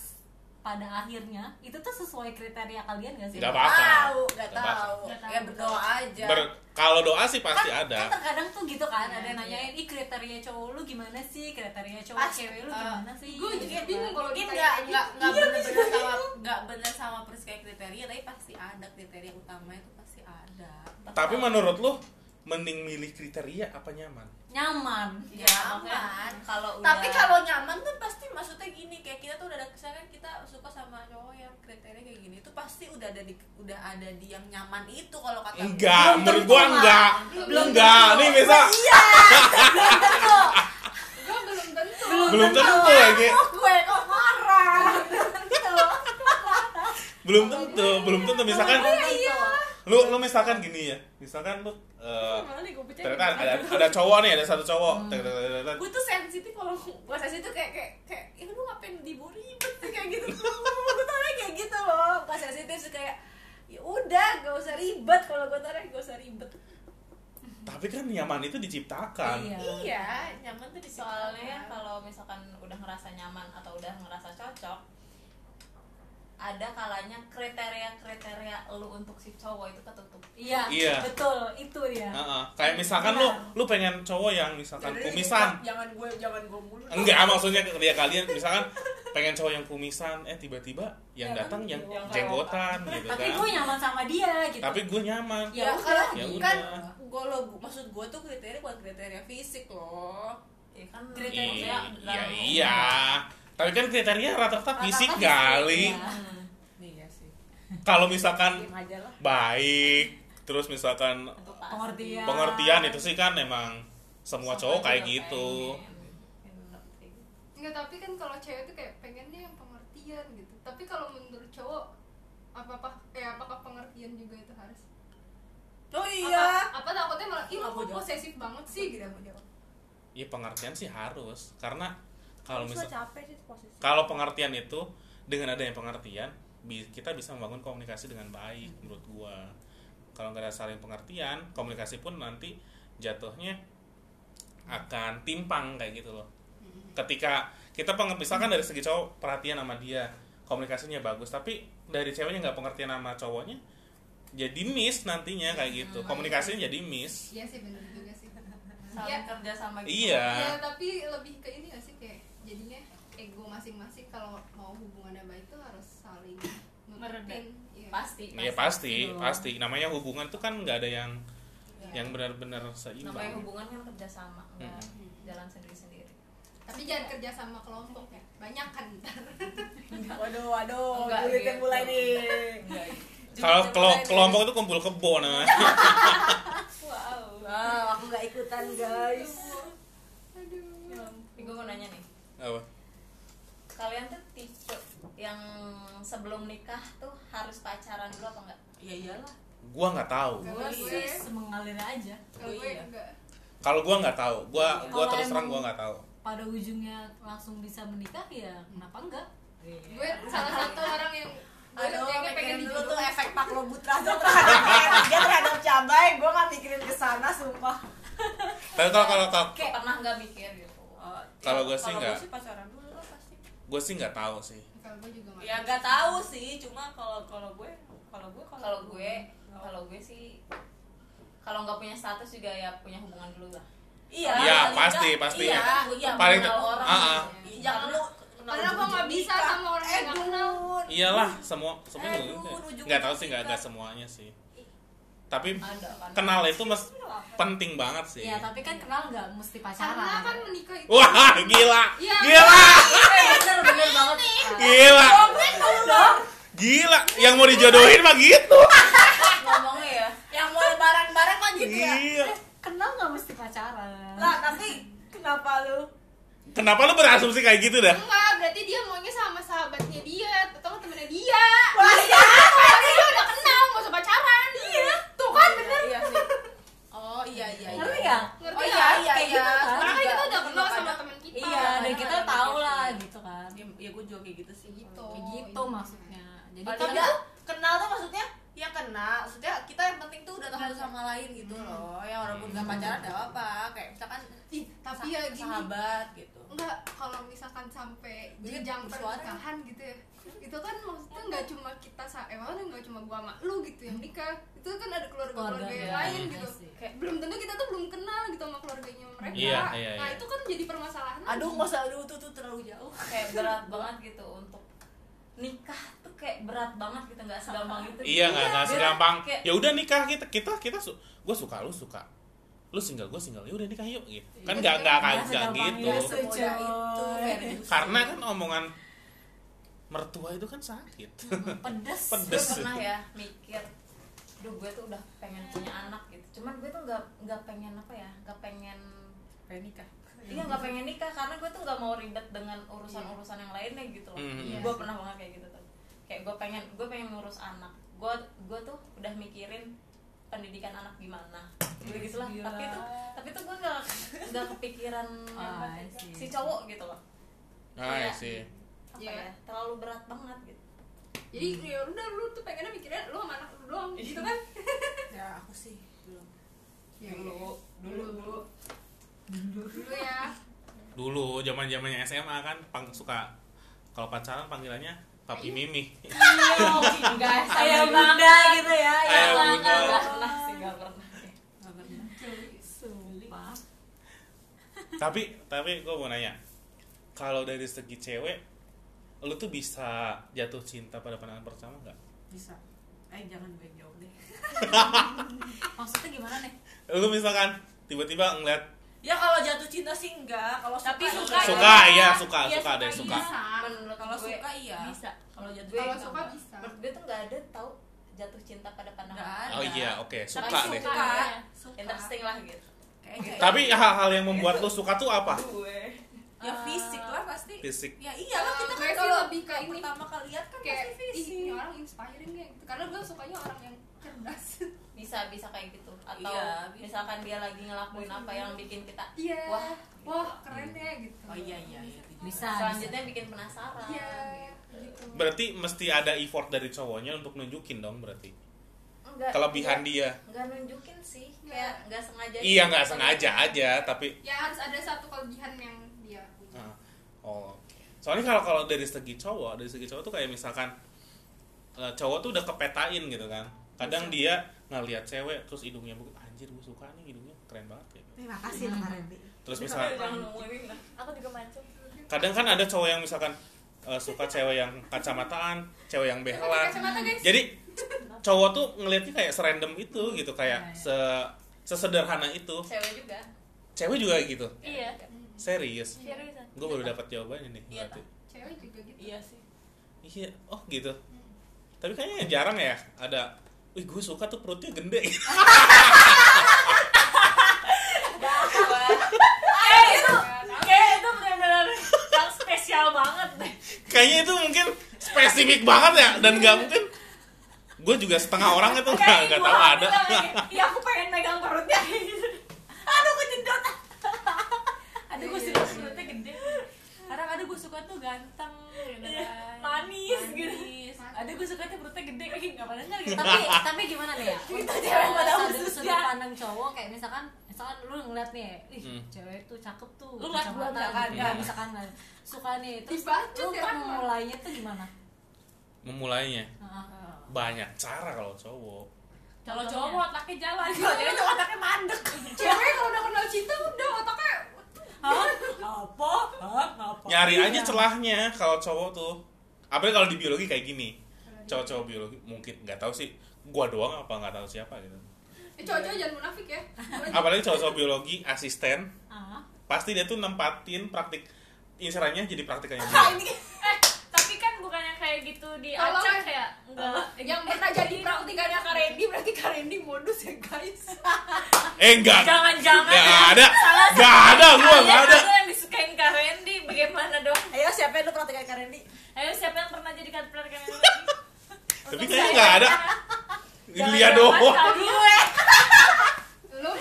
Speaker 7: pada akhirnya itu tuh sesuai kriteria kalian gak sih?
Speaker 1: Nggak apa-apa.
Speaker 4: Tahu, nggak
Speaker 1: Nggak apa-apa.
Speaker 4: tahu.
Speaker 7: Nggak
Speaker 4: Ya
Speaker 7: tahu.
Speaker 4: berdoa aja.
Speaker 1: Ber- kalau doa sih
Speaker 7: Kan-
Speaker 1: pasti
Speaker 7: Kan
Speaker 1: ada.
Speaker 7: terkadang tuh gitu kan ada
Speaker 5: Iya.
Speaker 7: yang nanyain, "Ih, kriteria cowok lu gimana sih? Kriteria cowok
Speaker 4: Pas-
Speaker 7: cewek lu
Speaker 4: eh,
Speaker 7: gimana sih?"
Speaker 3: gue
Speaker 7: Gitu
Speaker 3: juga
Speaker 7: kan.
Speaker 3: bingung kalau
Speaker 2: mungkin
Speaker 3: kita
Speaker 2: nggak
Speaker 3: kayak
Speaker 2: nggak
Speaker 3: gitu.
Speaker 2: nggak bener-bener sama nggak bener sama persis kayak kriteria tapi pasti ada kriteria utamanya itu pasti ada
Speaker 1: Tapi menurut lu mending milih kriteria apa nyaman?
Speaker 7: Nyaman.
Speaker 5: Iya,
Speaker 2: ya nyaman kalau udah
Speaker 4: Tapi kalau nyaman
Speaker 2: tuh pasti maksudnya gini kayak kita tuh udah ada misalkan kita suka sama cowok yang kriteria kayak gini tuh pasti udah ada di udah ada di yang nyaman itu kalau kata gue.
Speaker 1: Enggak,
Speaker 7: Belum
Speaker 1: menurut
Speaker 7: tentu,
Speaker 1: gua
Speaker 7: Mak.
Speaker 1: enggak.
Speaker 7: Belum
Speaker 1: Enggak,
Speaker 7: tentu. Iya,
Speaker 1: nih bisa
Speaker 7: Belum tentu.
Speaker 3: gue belum tentu
Speaker 1: belum tentu lagi.
Speaker 7: Gue kok marah.
Speaker 1: Belum tentu, belum tentu misalkan
Speaker 7: iya.
Speaker 1: lu lu misalkan gini ya. Misalkan lu eh,
Speaker 2: Malah nih gue percaya
Speaker 1: ternyata ada ada cowok nih, ada satu
Speaker 7: Hmm.
Speaker 1: cowok. Tek, tek, tek, tek, tek.
Speaker 2: gue tuh sensitif kalau gue sensitif kayak kayak kayak ya lu ngapain diburu ribet sih kayak gitu tuh
Speaker 4: gue tuh orangnya kayak gitu loh pas sensitif sih kayak ya udah gak usah ribet kalau gue tuh orangnya gak usah ribet
Speaker 1: Tapi kan nyaman itu diciptakan.
Speaker 7: Iya.
Speaker 2: iya nyaman tuh di Kan
Speaker 5: soalnya kalau misalkan udah ngerasa nyaman atau udah ngerasa cocok ada kalanya kriteria-kriteria lu untuk si cowok itu ketutup
Speaker 7: Iya,
Speaker 1: Iya.
Speaker 7: betul. Itu dia.
Speaker 1: Heeh.
Speaker 7: Iya.
Speaker 1: Kayak misalkan lu lu pengen cowok yang misalkan Kan kumisan.
Speaker 2: jangan gue jangan gue mulu
Speaker 1: Enggak, maksudnya dia kalian misalkan pengen cowok yang kumisan, eh tiba-tiba yang
Speaker 7: Yang
Speaker 1: datang yang
Speaker 2: yang
Speaker 1: jenggotan gitu
Speaker 7: kan? Iya, Tapi
Speaker 1: kan.
Speaker 7: gue nyaman sama dia gitu.
Speaker 1: Tapi gue nyaman.
Speaker 7: ya udah.
Speaker 1: Ya
Speaker 2: kan
Speaker 1: udah.
Speaker 2: gue lo gua- maksud gue tuh kriteria bukan kriteria fisik loh
Speaker 5: ya kan
Speaker 1: Iya,
Speaker 5: maksudnya
Speaker 1: iya,
Speaker 5: dalam-
Speaker 1: iya. Tapi kan kriteria rata-rata fisik
Speaker 7: Rata-rata
Speaker 1: kali.
Speaker 7: fisik, ya.
Speaker 2: iya sih
Speaker 1: Kalau misalkan
Speaker 7: Diam aja lah. Iya.
Speaker 1: baik, terus misalkan
Speaker 5: itu pasti.
Speaker 7: Pengertian.
Speaker 1: pengertian itu sih kan emang semua
Speaker 5: Semua
Speaker 1: cowok kayak
Speaker 5: juga
Speaker 1: gitu.
Speaker 5: pengen. Ngerti.
Speaker 3: Enggak, tapi kan kalau cewek tuh kayak pengennya yang pengertian gitu. Tapi kalau menurut cowok apa apa eh apakah pengertian juga itu harus?
Speaker 2: lo
Speaker 3: ih lu
Speaker 7: Aku
Speaker 3: kok
Speaker 7: jawab.
Speaker 3: posesif banget sih gitu aku jawab
Speaker 1: ya pengertian sih harus karena kalau
Speaker 6: Terus lo
Speaker 1: misal
Speaker 6: capek sih posisi
Speaker 1: kalau pengertian itu dengan adanya pengertian bi- kita bisa membangun komunikasi dengan baik menurut gua kalau nggak ada saling pengertian komunikasi pun nanti jatuhnya akan timpang kayak gitu loh ketika kita peng- misalkan dari segi cowok perhatian sama dia komunikasinya bagus tapi dari ceweknya nggak pengertian sama cowoknya jadi miss nantinya kayak
Speaker 6: Hmm.
Speaker 1: gitu komunikasinya jadi miss
Speaker 3: iya sih bener juga sih
Speaker 5: saling
Speaker 3: Iya.
Speaker 5: kerja sama gitu
Speaker 3: ya
Speaker 1: iya
Speaker 3: tapi lebih ke ini gak sih kayak jadinya ego masing-masing kalau mau hubungannya baik tuh harus saling
Speaker 5: Meredah.
Speaker 3: nutupin Iya.
Speaker 5: pasti
Speaker 1: ya pasti pasti namanya hubungan tuh kan nggak ada yang yang benar-benar
Speaker 5: Ya. namanya
Speaker 1: seimbang
Speaker 5: hubungan kan kerja sama nggak
Speaker 3: Hmm.
Speaker 5: jalan sendiri sendiri
Speaker 3: tapi jangan kerja sama kelompok ya banyak kan ntar
Speaker 4: waduh waduh
Speaker 5: Enggak
Speaker 4: duit yang
Speaker 5: gitu.
Speaker 4: mulai nih
Speaker 1: kalau
Speaker 4: Duit yang
Speaker 1: kelo-
Speaker 4: mulai nih.
Speaker 1: kelompok itu kumpul kebo nah
Speaker 5: wow
Speaker 4: wow aku nggak ikutan guys
Speaker 5: Tapi gue mau nanya nih
Speaker 1: apa
Speaker 5: kalian tuh tipe yang sebelum nikah tuh harus pacaran dulu apa enggak
Speaker 2: ya iyalah
Speaker 1: gua nggak tahu
Speaker 3: Kalau
Speaker 7: gue
Speaker 3: gue
Speaker 7: sih mengalir aja
Speaker 3: kalau gue
Speaker 2: Iya.
Speaker 3: enggak
Speaker 1: kalau gua nggak tahu
Speaker 5: Iya,
Speaker 1: gua gua
Speaker 7: Kalau
Speaker 1: terus terang
Speaker 7: emang-
Speaker 1: gua nggak tahu
Speaker 7: pada ujungnya langsung bisa menikah ya kenapa enggak
Speaker 3: gue salah satu orang yang gue
Speaker 4: Aduh,
Speaker 3: kayaknya pengen
Speaker 4: pengen dulu
Speaker 3: dijodoh
Speaker 4: tuh efek Pak Lobutra tuh terhadap kayak dia terhadap cabai, gue gak mikirin ke sana sumpah.
Speaker 1: tapi kalau kalau kalau
Speaker 5: kayak pernah nggak mikir gitu
Speaker 2: Eh,
Speaker 1: Kalau
Speaker 2: ya,
Speaker 1: gue sih nggak.
Speaker 2: pacaran dulu lah pasti
Speaker 1: gua sih nggak tahu sih
Speaker 3: kalau gue juga nggak
Speaker 2: ya nggak tahu sih cuma kalau kalau gue kalau gue
Speaker 5: kalau gue kalau gue sih kalau nggak punya status juga ya punya hubungan dulu lah
Speaker 2: iya
Speaker 1: Iya,
Speaker 2: paling
Speaker 1: pasti,
Speaker 2: nggak-
Speaker 1: pasti.
Speaker 2: iya,
Speaker 5: iya
Speaker 1: Paling-
Speaker 5: kenal orang
Speaker 1: Ah, ah.
Speaker 5: gitu ya.
Speaker 2: Iya, jangan lu kenal
Speaker 3: Karena gua nggak
Speaker 2: ujung
Speaker 3: bisa
Speaker 2: nikah.
Speaker 3: sama orang yang nggak
Speaker 2: Eh,
Speaker 3: kenal.
Speaker 2: Dun.
Speaker 1: iyalah semua semua
Speaker 5: Eh,
Speaker 2: Aduh,
Speaker 1: juga nggak-
Speaker 2: ujung
Speaker 1: nggak tahu sih
Speaker 2: ujung
Speaker 1: nggak nggak
Speaker 2: kita.
Speaker 1: semuanya sih tapi
Speaker 5: ada Iya, kan
Speaker 1: kenal itu mas penting banget sih
Speaker 7: ya tapi kan kenal nggak mesti pacaran
Speaker 3: karena kan menikah itu
Speaker 1: wah gila
Speaker 3: Iya.
Speaker 1: gila
Speaker 7: bener bener banget
Speaker 1: gila gila yang mau dijodohin mah gitu
Speaker 5: ngomongnya ya
Speaker 4: Yang mau lebaran bareng kan gitu ya.
Speaker 1: iya
Speaker 7: kenal nggak mesti pacaran
Speaker 4: Lah, tapi kenapa lu?
Speaker 1: kenapa lu berasumsi kayak gitu dah
Speaker 3: enggak berarti dia maunya sama sahabatnya dia atau temennya dia
Speaker 4: Wah,
Speaker 3: Iya, berarti dia udah kenal nggak usah pacaran iya tuh kan bener
Speaker 2: iya sih oh iya iya iya
Speaker 7: ngerti nggak
Speaker 3: ngerti
Speaker 4: Oh iya, iya,
Speaker 3: ya
Speaker 4: iya.
Speaker 7: Kayak gitu kan.
Speaker 3: karena kan
Speaker 4: Juga-
Speaker 3: kita udah kenal
Speaker 4: juga
Speaker 3: sama
Speaker 4: kadang-
Speaker 3: temen kita
Speaker 7: iya dan
Speaker 3: Kadang
Speaker 7: kita
Speaker 3: ada
Speaker 7: tahu
Speaker 3: mikir
Speaker 7: lah
Speaker 3: sih.
Speaker 7: gitu kan
Speaker 2: ya, ya gue juga kayak gitu sih
Speaker 3: gitu
Speaker 7: kayak gitu
Speaker 3: iya.
Speaker 7: maksudnya jadi
Speaker 4: Tapi
Speaker 7: kan
Speaker 4: tuh kenal tuh maksudnya ya kenal, maksudnya kita yang penting tuh udah tahu satu sama lain gitu
Speaker 2: Hmm.
Speaker 4: loh. Ya walaupun
Speaker 2: Iya,
Speaker 4: gak pacaran gak apa-apa, kayak misalkan
Speaker 3: Ih, tapi ya gini
Speaker 2: sahabat gitu
Speaker 3: enggak kalau misalkan sampai
Speaker 4: Dia
Speaker 3: jenjang
Speaker 4: bersuara.
Speaker 3: pernikahan gitu ya itu kan maksudnya nggak cuma kita sa- emang nggak cuma gua sama lu gitu yang nikah itu kan ada keluarga keluarga yang
Speaker 7: Keluarga,
Speaker 3: lain
Speaker 7: iya
Speaker 3: gitu
Speaker 7: sih.
Speaker 3: kayak belum tentu kita tuh belum kenal gitu sama keluarganya mereka
Speaker 1: Iya, iya,
Speaker 3: nah
Speaker 1: iya.
Speaker 3: itu kan jadi permasalahan
Speaker 4: aduh nggak usah aduh tuh tuh terlalu jauh.
Speaker 5: kayak berat banget gitu untuk nikah tuh kayak berat banget gitu nggak segampang itu
Speaker 1: Iya nggak nggak
Speaker 5: Berat.
Speaker 1: segampang.
Speaker 5: Kayak-
Speaker 1: Ya udah nikah kita kita kita su gue suka lu suka. Lu single gue single ya udah nikah yuk gitu. Kan nggak nggak
Speaker 7: Nggak
Speaker 1: nggak- nggak
Speaker 7: segampang
Speaker 2: iya,
Speaker 1: gitu.
Speaker 7: itu.
Speaker 4: Semudah itu. Ferry.
Speaker 1: Karena kan omongan mertua itu kan sakit.
Speaker 7: pedes
Speaker 5: gue
Speaker 1: Pedes.
Speaker 5: pernah ya mikir Duh gue tuh udah pengen punya anak gitu Cuman gue tuh gak, nggak pengen apa ya Gak pengen
Speaker 2: kayak nikah
Speaker 5: Iya gak pengen nikah Karena gue tuh gak mau ribet dengan urusan-urusan yang lainnya gitu loh
Speaker 1: Hmm. Iya
Speaker 5: Gue
Speaker 3: sih.
Speaker 5: pernah banget kayak gitu tuh Kayak gue pengen gue pengen ngurus anak Gue gue tuh udah mikirin pendidikan anak gimana Gue gitu lah
Speaker 7: Gila.
Speaker 5: Tapi tuh tapi tuh gue gak, nggak kepikiran
Speaker 7: Ah,
Speaker 5: apa-
Speaker 7: I see.
Speaker 5: si cowok gitu loh
Speaker 1: Ah ya
Speaker 5: Kayak-
Speaker 1: sih.
Speaker 5: Apa
Speaker 3: Iya.
Speaker 5: ya Terlalu berat banget gitu
Speaker 3: jadi ya udah lu tuh pengennya mikirnya lu sama anak lu doang gitu kan
Speaker 4: Ya aku sih belum.
Speaker 3: Ya, dulu dulu dulu dulu ya
Speaker 1: Dulu zaman zamannya SMA kan pang, suka kalau pacaran panggilannya papi mimi.
Speaker 5: Enggak,
Speaker 7: kayak bunda gitu ya ya
Speaker 1: Kayak
Speaker 7: Bang.
Speaker 1: bunda.
Speaker 5: Gak pernah sih, gak pernah
Speaker 2: Nggak pernah.
Speaker 7: Sumpah.
Speaker 1: tapi tapi gue mau nanya kalau dari segi cewek lu tuh bisa jatuh cinta pada pandangan pertama nggak?
Speaker 2: bisa eh jangan gue yang jawab deh
Speaker 7: maksudnya gimana nih
Speaker 1: Lu misalkan tiba-tiba ngeliat
Speaker 2: ya kalau jatuh cinta sih enggak kalau suka
Speaker 4: Tapi suka
Speaker 2: iya.
Speaker 1: suka ya suka suka deh suka.
Speaker 3: iya.
Speaker 5: Menurut
Speaker 2: kalau
Speaker 5: gue
Speaker 2: suka iya
Speaker 5: bisa
Speaker 2: kalau jatuh
Speaker 5: Gue-
Speaker 3: kalau
Speaker 2: cinta
Speaker 3: suka
Speaker 2: enggak.
Speaker 3: bisa
Speaker 5: Menurut gue tuh gak ada tau jatuh cinta pada
Speaker 2: Nggak
Speaker 5: pandangan
Speaker 2: ada.
Speaker 1: Oh iya, oke, suka
Speaker 5: Tapi
Speaker 2: ya.
Speaker 1: deh.
Speaker 5: suka.
Speaker 2: suka
Speaker 5: Interesting lah gitu
Speaker 2: Kayak- kayak-
Speaker 1: Tapi hal-hal yang membuat lu suka tuh apa?
Speaker 5: Gue
Speaker 2: ya fisik lah pasti
Speaker 1: Fisik.
Speaker 2: ya
Speaker 5: iya
Speaker 2: iyalah kita
Speaker 3: Gue
Speaker 2: kan
Speaker 3: sih
Speaker 2: kalau
Speaker 3: lebih ke ini.
Speaker 2: pertama kali lihat kan
Speaker 3: kayak
Speaker 2: pasti
Speaker 3: ih, ini
Speaker 2: fisik
Speaker 3: orang inspiring ya gitu karena gue sukanya orang yang cerdas
Speaker 5: bisa bisa kayak gitu atau
Speaker 4: Iya, bisa.
Speaker 5: misalkan dia lagi ngelakuin apa yang bikin kita
Speaker 3: iya
Speaker 5: wah
Speaker 3: wah keren ya gitu
Speaker 4: oh iya iya iya
Speaker 7: bisa
Speaker 5: selanjutnya bikin penasaran
Speaker 3: iya gitu
Speaker 1: Berarti mesti ada effort dari cowoknya untuk nunjukin dong berarti.
Speaker 5: enggak
Speaker 1: Kelebihan
Speaker 5: enggak-
Speaker 1: dia.
Speaker 5: enggak nunjukin sih kayak enggak sengaja
Speaker 1: Iya nggak sengaja aja tapi
Speaker 3: ya harus ada satu kelebihan yang dia punya
Speaker 1: Nah, oh. Soalnya kalau kalau dari segi cowok, dari segi cowok tuh kayak misalkan eh, cowok tuh udah kepetain gitu kan. Kadang dia ngelihat cewek terus hidungnya bukan anjir gue suka nih hidungnya keren banget gitu.
Speaker 4: terima kasih loh Kak Randy
Speaker 1: Terus misalkan
Speaker 5: jangan ngomongin lah aku juga mancung
Speaker 1: kadang kan ada cowok yang misalkan eh, suka cewek yang kacamataan, cewek yang
Speaker 3: Pakai
Speaker 1: behelan.
Speaker 3: kacamata guys
Speaker 1: Jadi cowok tuh ngelihatnya kayak serandom itu gitu kayak
Speaker 7: Iya,
Speaker 1: se sesederhana itu.
Speaker 5: cewek juga
Speaker 1: Cewek juga gitu.
Speaker 5: iya
Speaker 1: Serius.
Speaker 5: seriusan
Speaker 1: Gue baru dapat jawabannya nih
Speaker 5: Iya,
Speaker 1: berarti.
Speaker 3: cewek juga gitu
Speaker 2: iya sih
Speaker 1: Iya, oh gitu. Tapi kayaknya jarang ya ada Wih gue suka tuh perutnya gede
Speaker 5: kayak itu benar-benar yang spesial banget deh
Speaker 1: Kayaknya itu mungkin spesifik banget ya Dan gak mungkin Gue juga setengah orang itu gak,
Speaker 5: kayak
Speaker 1: gak
Speaker 5: ibu
Speaker 1: tau
Speaker 5: hamil
Speaker 1: ada
Speaker 5: lah, kayak, iya aku pengen megang perutnya kayak gitu aduh aku Iya. jedot
Speaker 2: aduh gue suka perutnya gede kadang ada gue suka tuh ganteng gitu
Speaker 5: Iya,
Speaker 2: kan.
Speaker 5: manis gitu.
Speaker 2: Manis. ada gue suka tuh perutnya gede kayak nggak padahal gitu
Speaker 7: tapi tapi gimana deh ya untuk
Speaker 5: cewek pada
Speaker 7: sudut-
Speaker 5: khususnya.
Speaker 7: sudut pandang cowok kayak misalkan misalkan lu ngeliat nih ih
Speaker 1: Hmm.
Speaker 7: cewek tuh cakep tuh
Speaker 2: Lu ngeliat gua
Speaker 7: kacamata
Speaker 2: misalkan,
Speaker 7: gitu,
Speaker 2: kan?
Speaker 7: misalkan kan. suka nih terus
Speaker 3: Dibacut
Speaker 7: lu
Speaker 3: ya,
Speaker 7: kan
Speaker 3: Pak.
Speaker 7: mulainya tuh gimana
Speaker 1: Memulainya
Speaker 7: Heeh.
Speaker 1: Banyak cara kalau cowok
Speaker 2: kalau cowok mau otaknya jalan
Speaker 5: Cewek tuh otaknya mandek
Speaker 3: cewek kalau udah kenal cinta udah otaknya
Speaker 7: Hah? apa Hah? apa
Speaker 1: Nyari
Speaker 7: Iya.
Speaker 1: aja celahnya kalau cowok tuh Apalagi kalau di biologi kayak gini Cowok-cowok biologi mungkin gak tahu sih Gua doang apa gak tahu siapa gitu
Speaker 3: eh,
Speaker 4: Iya.
Speaker 3: cowok-cowok jangan munafik ya
Speaker 1: Apalagi cowok-cowok biologi asisten
Speaker 7: Ah.
Speaker 1: Pasti dia tuh nempatin praktik Inserannya jadi praktikannya dia
Speaker 5: tapi kan bukannya kayak gitu di
Speaker 4: Iya,
Speaker 3: Tolong
Speaker 5: acak
Speaker 3: ya.
Speaker 5: kayak enggak
Speaker 3: yang pernah jadi praktikannya Kak Randy berarti Kak Randy modus ya guys
Speaker 1: Eh enggak
Speaker 5: jangan-jangan ya.
Speaker 1: Gak ada, gak ada, gua gak ada.
Speaker 5: Kalian yang disukain Kak Randy, bagaimana dong?
Speaker 4: ayo siapa yang lu perhatikan Kak Randy
Speaker 5: Ayo siapa yang pernah jadi kader Kak Randy?
Speaker 1: Tapi kayaknya gak ada. Lia doang.
Speaker 5: gue.
Speaker 3: lu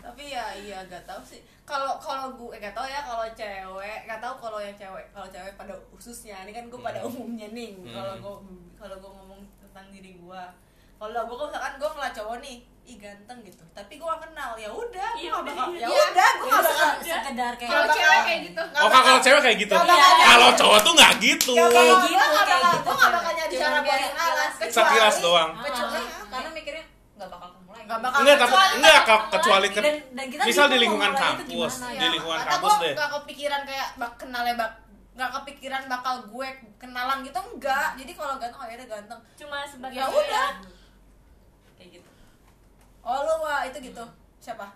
Speaker 4: tapi ya iya gak tau sih kalau kalau gue eh, gak tau ya kalau cewek gak tau kalau yang cewek kalau cewek pada khususnya ini kan gue pada
Speaker 1: Hmm.
Speaker 4: umumnya nih
Speaker 1: Hmm.
Speaker 4: kalau gue kalau gue ngomong tentang diri gue kalau gue misalkan gue ngeliat cowok nih ih ganteng gitu tapi gue gak kenal ya udah gue
Speaker 5: Iya,
Speaker 4: gak
Speaker 5: udah,
Speaker 4: bakal
Speaker 5: iya.
Speaker 4: ya udah gue gak bakal
Speaker 7: Se- sekedar kayak
Speaker 3: kalau
Speaker 4: bakal.
Speaker 3: cewek kayak gitu
Speaker 1: Oh, kalau kalau cewek kayak gitu.
Speaker 4: Gak bakal.
Speaker 1: Kalau cowok tuh gak gitu.
Speaker 4: Gak bakal, gua
Speaker 7: gitu,
Speaker 4: gak
Speaker 7: kayak
Speaker 4: bakal,
Speaker 7: gitu,
Speaker 4: gue gak
Speaker 7: cewek.
Speaker 4: bakal nyari
Speaker 5: Cuma
Speaker 4: cara
Speaker 5: biar
Speaker 4: boring
Speaker 5: jelas.
Speaker 4: alas
Speaker 1: Sekilas doang.
Speaker 4: kecuali
Speaker 5: Karena mikirnya enggak bakal ketemu lagi.
Speaker 4: gak bakal
Speaker 1: Enggak, tapi
Speaker 4: kecuali-
Speaker 1: enggak kalau kecuali
Speaker 7: dan,
Speaker 1: ke
Speaker 7: dan kita
Speaker 1: misal
Speaker 7: bingung
Speaker 1: di lingkungan
Speaker 7: mau mulai itu
Speaker 1: kampus.
Speaker 7: gimana ya?
Speaker 1: Di lingkungan
Speaker 4: Iya. Atau
Speaker 1: kampus
Speaker 4: gua
Speaker 1: deh.
Speaker 4: Gak kepikiran kayak bak kenalnya bak gak kepikiran bakal gue kenalan gitu enggak. Jadi kalau ganteng akhirnya ganteng.
Speaker 5: Cuma sebagai
Speaker 4: Ya udah.
Speaker 5: Kayak gitu.
Speaker 4: Oh lu wah itu gitu. Siapa?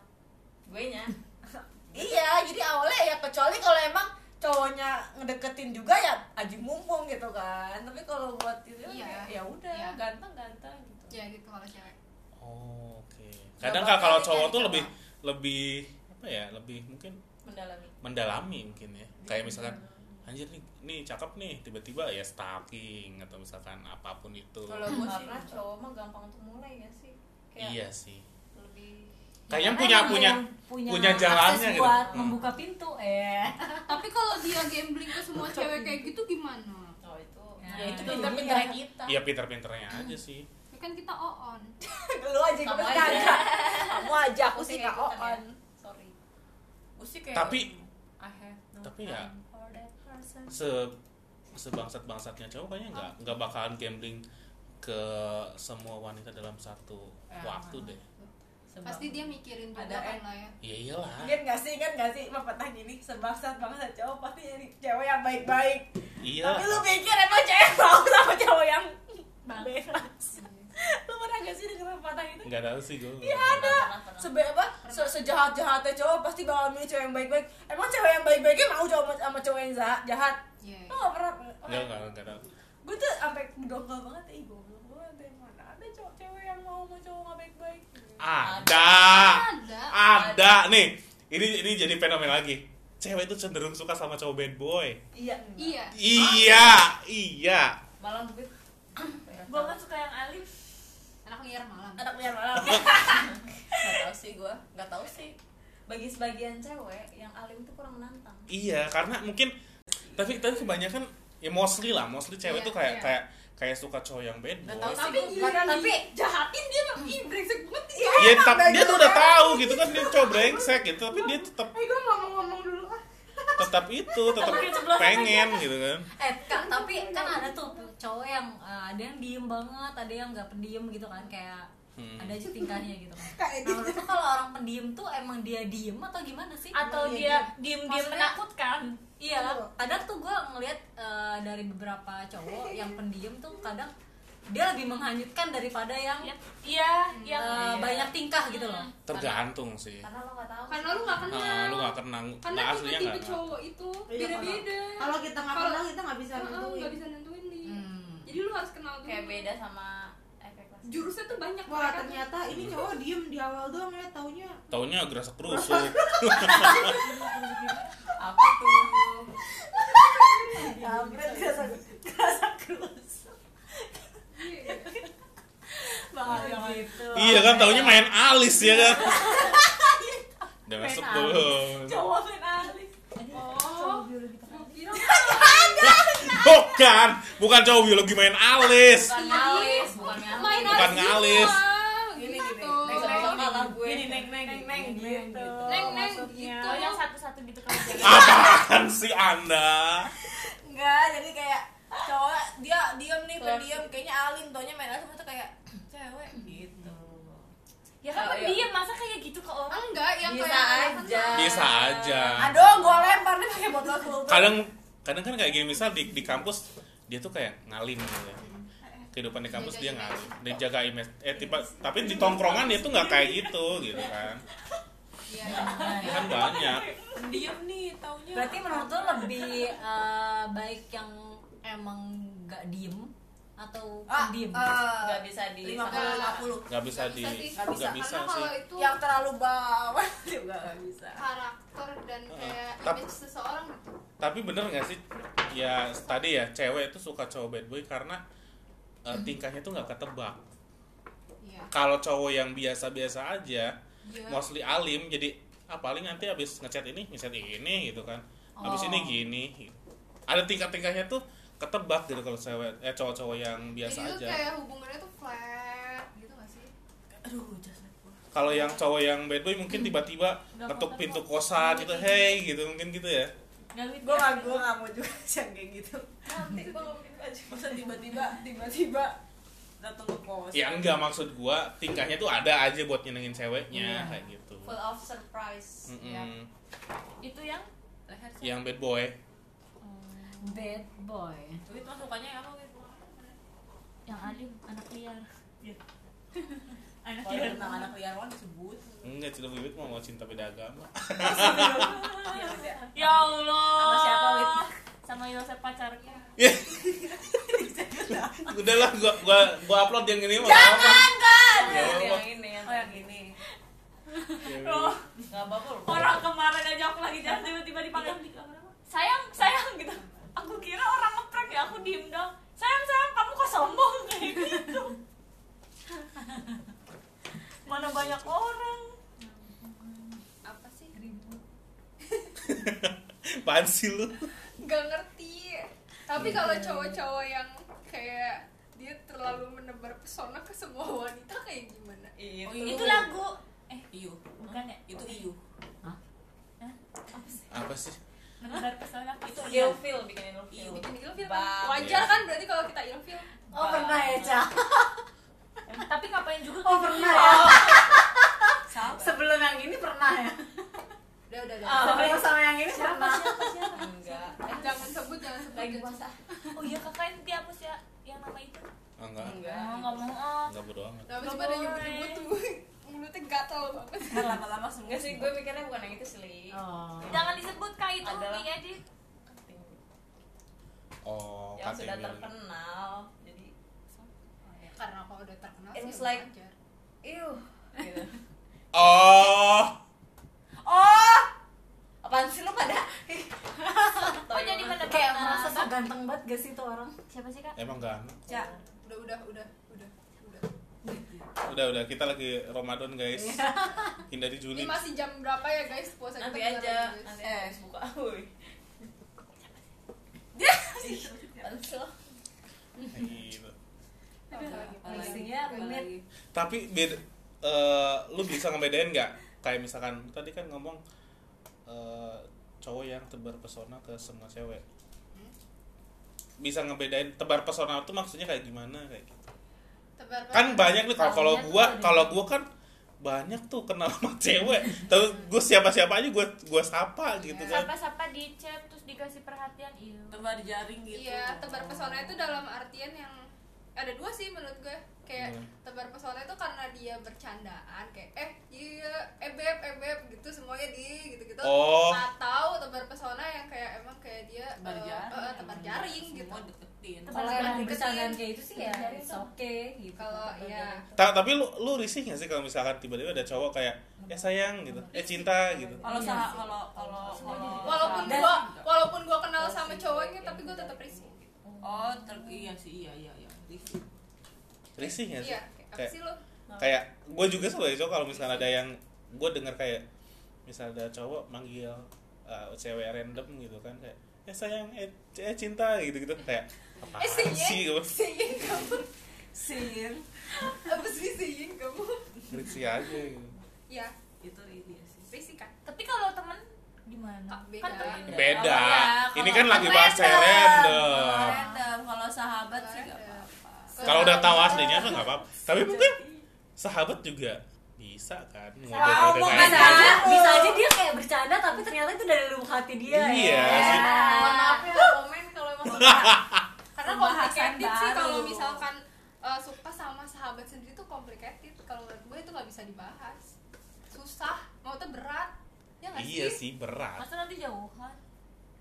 Speaker 5: Gue nya.
Speaker 4: Iya, jadi awalnya ya kecuali kalau emang cowoknya ngedeketin juga ya aji mumpung gitu kan. Tapi kalau buat itu
Speaker 3: Iya.
Speaker 4: ya udah
Speaker 3: Iya.
Speaker 4: ganteng ganteng gitu.
Speaker 3: ya gitu kalau cewek
Speaker 1: Oh, oke. Kadang kalau kalau cowok tuh lebih lebih apa ya? Lebih mungkin
Speaker 5: Mendalami.
Speaker 1: mendalami mungkin ya. Kayak misalkan anjir nih, nih cakep nih tiba-tiba ya stalking atau misalkan apapun itu.
Speaker 4: Kalau gue sih
Speaker 5: Karena cowok mah gampang untuk mulai ya sih. Kayak ya
Speaker 1: Iya sih.
Speaker 5: lebih
Speaker 1: Kayaknya
Speaker 7: Karena
Speaker 1: punya
Speaker 7: yang-
Speaker 1: punya
Speaker 7: yang
Speaker 1: punya
Speaker 7: akses
Speaker 1: jalannya gitu.
Speaker 7: buat
Speaker 1: Hmm.
Speaker 7: membuka pintu eh
Speaker 3: tapi kalau dia gambling ke semua cewek kayak gitu gimana
Speaker 5: Oh itu.
Speaker 7: Ya,
Speaker 4: Nah,
Speaker 5: Ya itu
Speaker 4: gitu.
Speaker 7: itu
Speaker 5: pintar
Speaker 4: pinter-pinter
Speaker 5: pintar
Speaker 4: kita.
Speaker 1: Iya pinter-pinternya aja sih.
Speaker 3: Ya kan kita on
Speaker 4: Lu aja gue
Speaker 5: Kamu
Speaker 4: masih
Speaker 1: Iya.
Speaker 5: aja.
Speaker 4: kagak. Kamu aja aku sih
Speaker 5: Kayak
Speaker 4: gak
Speaker 5: ikutan ya.
Speaker 4: on.
Speaker 5: Sorry.
Speaker 2: gue sih kayak
Speaker 1: Tapi-
Speaker 2: I have no
Speaker 1: Tapi ya
Speaker 2: time for that person.
Speaker 1: se sebangsat bangsatnya cowok kayaknya nggak nggak bakalan gambling ke semua wanita dalam satu waktu deh
Speaker 2: Sebab-
Speaker 3: pasti dia mikirin juga
Speaker 2: Ada
Speaker 3: kan
Speaker 2: end.
Speaker 3: lah ya
Speaker 1: iya iyalah
Speaker 4: Ingat gak sih, ingat gak sih pepatah gini Sebangsat bangsa cowok pasti jadi cewek yang baik-baik
Speaker 1: iya
Speaker 4: Tapi lu gitu. pikir emang cewek mau sama cowok yang bebas Lu pernah gak sih denger pepatah itu?
Speaker 1: nggak tahu sih gue
Speaker 5: Pernah, pernah.
Speaker 4: Sebe apa? Se- Sejahat-jahatnya cowok pasti bakal milih cewek yang baik-baik Emang cewek yang baik-baiknya mau cowok sama- sama cowok yang jahat? jahat?
Speaker 3: Iya.
Speaker 4: Lu gak pernah
Speaker 1: nggak nggak nggak tahu
Speaker 4: Gue tuh sampai dongkol banget, ih goblok banget ya Mana ada cowok cewek yang mau sama cowok gak baik-baik
Speaker 1: ada
Speaker 3: ada
Speaker 1: ada nih ini ini jadi fenomen lagi cewek itu cenderung suka sama cowok bad boy
Speaker 4: Iya
Speaker 3: iya
Speaker 1: iya iya
Speaker 5: Malam gue
Speaker 2: gue kan suka yang alim
Speaker 3: anak liar malam
Speaker 5: anak liar malam nggak tahu sih gue nggak tahu sih bagi sebagian cewek yang alim tuh kurang menantang
Speaker 1: Iya, karena mungkin tapi tapi kebanyakan ya mostly lah, mostly cewek
Speaker 3: Iya,
Speaker 1: tuh kayak
Speaker 3: iya.
Speaker 1: kayak kayak suka cowok yang bad boy.
Speaker 6: tapi
Speaker 5: Iya.
Speaker 6: giliran tapi jahatin dia ih brengsek banget dia
Speaker 1: Iya, tapi dia tuh udah tahu gitu kan dia cowok brengsek gitu, tapi dia tetap
Speaker 6: eh gue nggak mau ngomong dulu ah
Speaker 1: tetap itu, tetap pengen gitu kan.
Speaker 7: eh kak tapi kan ada tuh cowok yang eh, ada yang diem banget ada yang nggak pendiam gitu kan kayak
Speaker 1: Hmm.
Speaker 7: ada aja tingkahnya gitu kan nah, menurut lu kalau orang pendiam tuh emang dia diem atau gimana sih
Speaker 5: atau Iya, dia kan? diem-diem
Speaker 7: Maksudnya-
Speaker 5: menakutkan
Speaker 7: iya kadang tuh gue ngelihat eh, dari beberapa cowok yang pendiam tuh kadang dia lebih menghanyutkan daripada yang
Speaker 5: Ya, iya
Speaker 4: Hmm.
Speaker 7: eh,
Speaker 5: yang
Speaker 7: banyak tingkah gitu loh
Speaker 1: Tergantung sih.
Speaker 5: karena lo nggak tahu
Speaker 6: karena lu nggak kenal
Speaker 1: Nah, lu gak kenal,
Speaker 6: karena
Speaker 1: nggak aslinya
Speaker 6: tipe-tipe
Speaker 1: gak kenal.
Speaker 6: cowok itu
Speaker 8: Iya,
Speaker 6: beda-beda
Speaker 8: Kalau kita nggak
Speaker 6: Kalau-
Speaker 8: kenal kita nggak bisa
Speaker 6: Heeh, nggak
Speaker 8: nentuin.
Speaker 6: bisa nentuin dia
Speaker 7: Hmm.
Speaker 6: jadi lu harus kenal dulu
Speaker 5: kayak beda sama efek kelas
Speaker 6: jurusnya tuh banyak
Speaker 8: Wah
Speaker 6: mereka tuh.
Speaker 8: ternyata
Speaker 4: Ah,
Speaker 8: ini cowok diem di awal doang ya taunya
Speaker 1: Taunya gerasak kerusuk.
Speaker 5: apa tuh
Speaker 4: Kampret kerasa kerasa kerus.
Speaker 6: Iya.
Speaker 7: bahaya gitu
Speaker 1: iya kan, taunya main alis ya kan. Udah masuk belum?
Speaker 5: cowok main alis
Speaker 6: oh gua kira
Speaker 1: Bukan, bukan cowok biologi main alis.
Speaker 5: bukan alis bukan
Speaker 6: main
Speaker 5: alis
Speaker 1: Bukan
Speaker 6: alis
Speaker 1: ngalis.
Speaker 6: doang,
Speaker 4: Gini gini.
Speaker 6: gitu.
Speaker 4: Neng neng kalah gue.
Speaker 2: Gini, neng, neng,
Speaker 4: neng neng
Speaker 2: gini, neng,
Speaker 4: gitu.
Speaker 2: gitu.
Speaker 6: neng neng
Speaker 4: Maksudnya.
Speaker 6: gitu
Speaker 5: Oh, yang satu-satu gitu kan
Speaker 1: Apaan sih Anda?
Speaker 4: Enggak, jadi kayak cowok dia diem nih pendiam kayaknya alim taunya main asam tuh kayak cewek gitu.
Speaker 5: ya kan
Speaker 4: Oh, iya.
Speaker 5: pendiam masa kayak gitu ke orang
Speaker 6: enggak yang
Speaker 4: Bisa
Speaker 6: kayak
Speaker 4: aja.
Speaker 1: Bisa aja.
Speaker 4: Aduh, gua lempar nih pakai botol kulkas.
Speaker 1: Kadang kadang kan kayak gini misal di, di kampus dia tuh kayak ngalim gitu ya. Kehidupan di kampus dia ngalim, dia jaga image. Eh tipe, tapi di tongkrongan dia tuh nggak kayak gitu gitu kan. Kan banyak.
Speaker 4: Pendiam nih taunya.
Speaker 7: berarti menurut lo lebih eh, baik yang emang nggak diem atau
Speaker 4: ah,
Speaker 7: pendiam
Speaker 5: nggak
Speaker 4: eh,
Speaker 5: bisa di
Speaker 4: 50 50.
Speaker 1: nggak bisa
Speaker 6: Nggak
Speaker 1: di
Speaker 6: bisa sih.
Speaker 1: nggak bisa,
Speaker 3: karena
Speaker 1: sih
Speaker 3: kalau itu
Speaker 4: Yang terlalu bawah juga nggak bisa.
Speaker 3: karakter dan
Speaker 1: Heeh.
Speaker 3: kayak
Speaker 1: Tapi-
Speaker 3: image seseorang gitu
Speaker 1: tapi bener nggak sih ya tadi ya cewek itu suka cowok bad boy karena eh, tingkahnya tuh nggak ketebak
Speaker 3: Iya.
Speaker 1: kalau cowok yang biasa-biasa aja
Speaker 3: Iya.
Speaker 1: mostly alim jadi ah paling nanti abis ngechat ini ngechat ini gitu kan abis
Speaker 7: Oh.
Speaker 1: ini gini gitu. ada tingkat-tingkatnya tuh ketebak gitu kalau cewek eh cowok-cowok yang biasa
Speaker 3: jadi tuh
Speaker 1: aja
Speaker 3: Iya, kayak hubungannya tuh flat gitu gak sih
Speaker 4: Aduh, jasad gua.
Speaker 1: kalau yang cowok yang bad boy
Speaker 3: Hmm.
Speaker 1: mungkin tiba-tiba
Speaker 2: Nggak
Speaker 1: ketuk
Speaker 2: kontak
Speaker 1: pintu
Speaker 2: kok.
Speaker 1: kosan
Speaker 3: Iya.
Speaker 1: gitu hey gitu mungkin gitu ya
Speaker 4: Gua nggak gua nggak mau juga sih yang kayak gitu.
Speaker 5: nanti kalau mungkin aja
Speaker 4: Masa tiba-tiba tiba-tiba datang ke kos.
Speaker 1: ya enggak maksud gua tingkahnya tuh ada aja buat nyenengin
Speaker 3: Iya.
Speaker 1: ceweknya kayak gitu
Speaker 5: full of surprise
Speaker 1: Mm-mm.
Speaker 5: ya. itu yang
Speaker 2: leher sih
Speaker 1: yang bad boy
Speaker 7: bad boy
Speaker 2: duit mah sukanya apa gitu
Speaker 7: yang alim anak liar
Speaker 2: anak
Speaker 4: Kalau
Speaker 2: Iya. liar
Speaker 4: tentang anak liar wan sebut.
Speaker 1: enggak cinta bibit mau mau cinta beda agama
Speaker 5: ya allah
Speaker 4: Sama siapa, Wit?
Speaker 5: sama Yosef pacarnya
Speaker 1: ya udahlah gua gua gua upload yang ini mah apa Ya
Speaker 5: yang,
Speaker 1: Allah.
Speaker 5: ini yang Oh.
Speaker 4: Oh yang ini.
Speaker 1: Iya.
Speaker 5: nggak apa-apa loh.
Speaker 2: orang kemarin aja aku lagi jalan tiba-tiba dipanggil sayang sayang gitu aku kira orang ngeprank ya aku diem dong sayang sayang kamu kok sombong kayak gitu mana banyak orang
Speaker 6: apa sih
Speaker 1: apaan sih lu
Speaker 3: nggak ngerti tapi
Speaker 1: Iya.
Speaker 3: kalau cowok-cowok yang kayak dia terlalu menebar pesona ke semua wanita kayak gimana
Speaker 5: itu,
Speaker 4: Oh, iya.
Speaker 5: itu lagu
Speaker 2: Eh,
Speaker 4: Iyu.
Speaker 5: bukan ya
Speaker 4: Itu Iyu.
Speaker 1: apa sih
Speaker 2: menebar pesona
Speaker 4: Itu Iyu.
Speaker 5: ilfil bikinin
Speaker 4: Iya,
Speaker 5: ilfil
Speaker 3: bikin ilfil
Speaker 5: Bang.
Speaker 1: Iya.
Speaker 3: kan wajar kan berarti kalau kita ilfil
Speaker 4: Oh, pernah
Speaker 5: ya
Speaker 4: Ca?
Speaker 5: tapi ngapain juga
Speaker 8: Oh pernah ya?
Speaker 4: Sabar.
Speaker 8: Sebelum yang ini pernah ya?
Speaker 3: udah udah udah
Speaker 5: Oh,
Speaker 8: Sebelum sama yang ini
Speaker 5: siapa
Speaker 8: pernah.
Speaker 5: siapa siapa enggak
Speaker 3: jangan sebut jangan sebut
Speaker 5: lagi
Speaker 3: jangan
Speaker 5: puasa oh iya kakak yang dihapus ya yang nama itu
Speaker 1: oh, enggak
Speaker 5: mau nggak mau ah
Speaker 1: enggak bodo amat
Speaker 3: Kenapa sih
Speaker 5: Nggak
Speaker 3: Nah, pada
Speaker 5: boleh.
Speaker 3: nyebut-nyebut tuh mulutnya gatal banget
Speaker 4: Ntar lama-lama semua.
Speaker 5: enggak sih gue mikirnya bukan yang itu sih Gitu.
Speaker 7: oh.
Speaker 5: jangan disebut kak itu
Speaker 6: Adalah-
Speaker 5: dia di
Speaker 1: oh
Speaker 5: yang sudah
Speaker 1: KTM.
Speaker 5: terkenal jadi
Speaker 3: karena kalau udah terkenal
Speaker 5: It
Speaker 3: sih
Speaker 5: was like-
Speaker 3: wajar.
Speaker 5: iuh gitu.
Speaker 1: oh
Speaker 5: oh apaan sih lu pada
Speaker 6: oh jadi mana
Speaker 7: kayak merasa so ganteng banget gak sih tuh orang
Speaker 5: siapa sih kak
Speaker 1: emang gak
Speaker 4: Ca.
Speaker 3: udah udah udah udah udah
Speaker 1: udah udah kita lagi Ramadan guys
Speaker 5: Iya.
Speaker 1: hindari
Speaker 3: Ini
Speaker 1: julid
Speaker 3: masih jam berapa ya guys puasa
Speaker 5: nanti
Speaker 3: kita
Speaker 5: aja
Speaker 3: bentar lagi,
Speaker 5: nanti
Speaker 3: guys.
Speaker 5: eh buka woi Pansel.
Speaker 1: Gitu.
Speaker 3: Apalagi, apalagi.
Speaker 7: Isinya
Speaker 3: Apalagi.
Speaker 7: rumit.
Speaker 1: tapi beda eh, lu bisa ngebedain nggak kayak misalkan tadi kan ngomong eh, cowok yang tebar pesona ke semua cewek bisa ngebedain tebar pesona tuh maksudnya kayak gimana kayak gitu
Speaker 3: Tebar
Speaker 1: kan banyak nih kalau kalau
Speaker 7: Banyak
Speaker 1: gua
Speaker 7: Eh, tuh ada.
Speaker 1: kalau gua kan banyak tuh kenal sama cewek tapi gua siapa siapa aja gua gua sapa gitu kan
Speaker 7: Iya.
Speaker 9: Sapa-sapa di chat terus dikasih perhatian iya
Speaker 5: tebar jaring gitu
Speaker 3: Iya, tebar pesona itu dalam artian yang ada dua sih menurut gue. Kayak
Speaker 1: Iya.
Speaker 3: tebar pesona itu karena dia bercandaan kayak eh iya eh beb eh beb gitu semuanya di gitu-gitu.
Speaker 1: Oh.
Speaker 3: Atau tebar pesona yang kayak emang kayak dia
Speaker 2: Tebar
Speaker 3: eh,
Speaker 2: jaring,
Speaker 3: eh, tebar
Speaker 2: emang.
Speaker 3: jaring gitu.
Speaker 2: semua deketin
Speaker 7: Kalau
Speaker 3: Kalau
Speaker 7: emang
Speaker 3: deketin,
Speaker 7: bercandaan kayak itu sih ya,
Speaker 9: dari
Speaker 7: it's okay gitu.
Speaker 3: Kalau ya
Speaker 1: Ta- tapi lu lu risih gak sih kalau misalkan tiba-tiba ada cowok kayak eh sayang gitu eh cinta gitu
Speaker 2: kalau
Speaker 5: Iya
Speaker 2: salah kalau kalau kalau-
Speaker 3: walaupun
Speaker 2: Dan-
Speaker 3: gua walaupun gua kenal sama cowoknya tapi gua tetap risih.
Speaker 2: oh ter- iya sih iya iya iya Risih.
Speaker 1: risih gak sih
Speaker 3: Iya, kayak apa
Speaker 1: Kayak-
Speaker 3: sih lo?
Speaker 1: kayak gue juga sebagai cowok kalau misalnya ada yang gue dengar kayak misalnya ada cowok manggil uh, cewek random gitu kan kayak eh sayang eh, c- eh cinta gitu gitu kayak apa
Speaker 3: Eh, sayang.
Speaker 1: sih gue
Speaker 3: Sayang kamu.
Speaker 2: Sin.
Speaker 3: Apa sih sayang kamu?
Speaker 1: risih aja gitu
Speaker 3: Iya,
Speaker 2: itu ini sih
Speaker 3: risih kan.
Speaker 9: tapi kalau temen
Speaker 7: gimana?
Speaker 3: Kak, beda.
Speaker 1: beda
Speaker 5: Kalau-
Speaker 1: ini kan lagi
Speaker 5: kalau
Speaker 1: bahas
Speaker 5: random.
Speaker 1: random
Speaker 5: Random. kalau sahabat sih nggak
Speaker 3: Random.
Speaker 5: apa-apa
Speaker 1: kalau udah tahu ya. aslinya mah nggak apa-apa tapi mungkin sahabat juga bisa kan gitu.
Speaker 7: Omongan
Speaker 1: ngode-ngodean aja.
Speaker 7: aja, bisa aja dia kayak bercanda tapi ternyata itu dari lubuk hati dia
Speaker 1: Iya,
Speaker 7: ya.
Speaker 1: sih.
Speaker 7: Mohon maaf ya.
Speaker 2: komen kalau emang
Speaker 3: karena
Speaker 2: Pembahasan
Speaker 3: complicated sih
Speaker 2: baru.
Speaker 3: kalau misalkan eh, suka sama sahabat sendiri tuh complicated kalau menurut gue itu nggak bisa dibahas susah mau tuh berat ya nggak
Speaker 1: iya
Speaker 3: sih
Speaker 1: sih berat
Speaker 7: Masa nanti jauhan?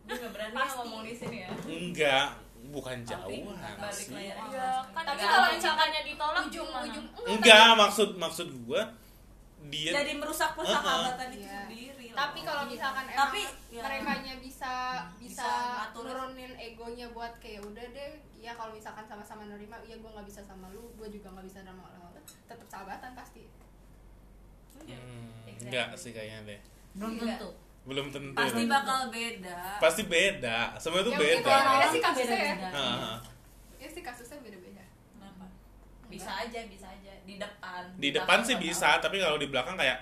Speaker 5: gue nggak berani
Speaker 3: Pasti.
Speaker 5: ngomong di sini ya
Speaker 1: enggak bukan jauhan
Speaker 5: balik Iya,
Speaker 1: sih
Speaker 5: layar
Speaker 9: kan
Speaker 3: tapi
Speaker 9: nggak
Speaker 3: kalau
Speaker 9: ada
Speaker 3: misalkannya
Speaker 9: ditolak
Speaker 3: ujung
Speaker 9: gimana?
Speaker 3: ujung
Speaker 1: enggak maksud maksud gue dia
Speaker 2: jadi merusak persahabatan itu
Speaker 3: Iya.
Speaker 2: sendiri loh.
Speaker 3: tapi kalau misalkan emang
Speaker 2: Tapi, ya.
Speaker 3: mereka bisa bisa,
Speaker 2: Bisa ngatur.
Speaker 3: nurunin egonya buat kayak udah deh ya kalau misalkan sama-sama nerima iya gue nggak bisa sama lu gue juga nggak bisa sama lu tetap sahabatan pasti
Speaker 1: Hmm, enggak sih kayaknya deh
Speaker 7: Belum
Speaker 3: Iya.
Speaker 7: tentu.
Speaker 1: belum tentu
Speaker 7: Iya.
Speaker 2: pasti bakal beda
Speaker 1: pasti beda semua itu
Speaker 3: Ya, mungkin
Speaker 1: beda
Speaker 3: kalau beda
Speaker 1: Heeh.
Speaker 3: sih
Speaker 7: Iya.
Speaker 3: kasusnya ya
Speaker 7: Beda-beda.
Speaker 3: ya sih kasusnya beda-beda
Speaker 2: kenapa
Speaker 5: bisa aja bisa aja di depan
Speaker 1: di depan
Speaker 5: belakang
Speaker 1: sih
Speaker 5: nggak
Speaker 1: bisa tapi kalau di belakang kayak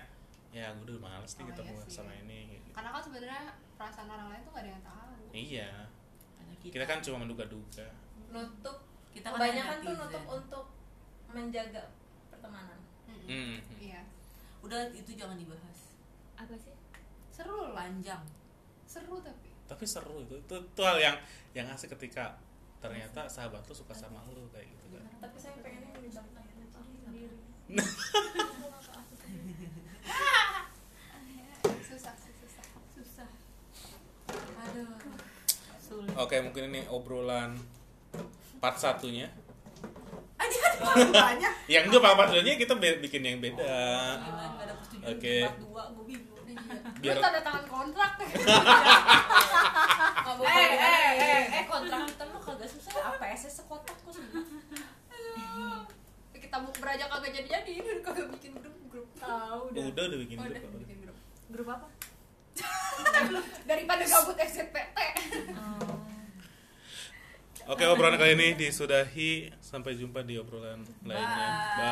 Speaker 1: ya gue udah males nih
Speaker 3: Oh,
Speaker 1: ketemu
Speaker 3: iya sih.
Speaker 1: sama ini gitu.
Speaker 3: karena kan sebenarnya perasaan orang lain tuh gak ada yang tahu
Speaker 1: iya
Speaker 2: Karena
Speaker 3: Gitu.
Speaker 1: kita kan cuma menduga-duga
Speaker 5: tahu. nutup
Speaker 2: kita kan
Speaker 5: kebanyakan
Speaker 2: ada
Speaker 5: tuh
Speaker 2: netizen.
Speaker 5: nutup untuk menjaga pertemanan
Speaker 1: Hmm.
Speaker 3: Mm-mm. iya
Speaker 2: udah itu jangan dibahas
Speaker 9: apa sih
Speaker 3: seru lah
Speaker 2: panjang
Speaker 3: seru tapi
Speaker 1: tapi seru itu itu, itu hal yang yang asik ketika ternyata sahabat lu suka sama lu kayak gitu kan
Speaker 5: tapi saya pengennya menjaga pertemanan sendiri
Speaker 3: susah sih susah
Speaker 2: susah aduh
Speaker 7: Sulit.
Speaker 1: oke mungkin ini obrolan part satunya
Speaker 2: aja ada banyak
Speaker 1: yang enggak part satunya kita be- bikin yang beda
Speaker 7: iya,
Speaker 2: gimana nggak
Speaker 7: Ah.
Speaker 2: ada persetujuan
Speaker 1: Oke.
Speaker 2: part dua gue bingung
Speaker 1: Biar-
Speaker 3: biar tanda tangan kontrak
Speaker 5: eh
Speaker 2: eh, eh, eh,
Speaker 5: eh kontrak kita mah kagak susah apa sekotak kok
Speaker 3: kita bukber aja kagak jadi jadi kagak bikin grup grup
Speaker 7: Tahu
Speaker 1: udah udah, bikin
Speaker 3: oh,
Speaker 1: grup
Speaker 3: udah bikin grup
Speaker 7: Grup apa?
Speaker 3: daripada gabut SCPT
Speaker 1: Oke obrolan kali ini disudahi sampai jumpa di obrolan lainnya. Bye.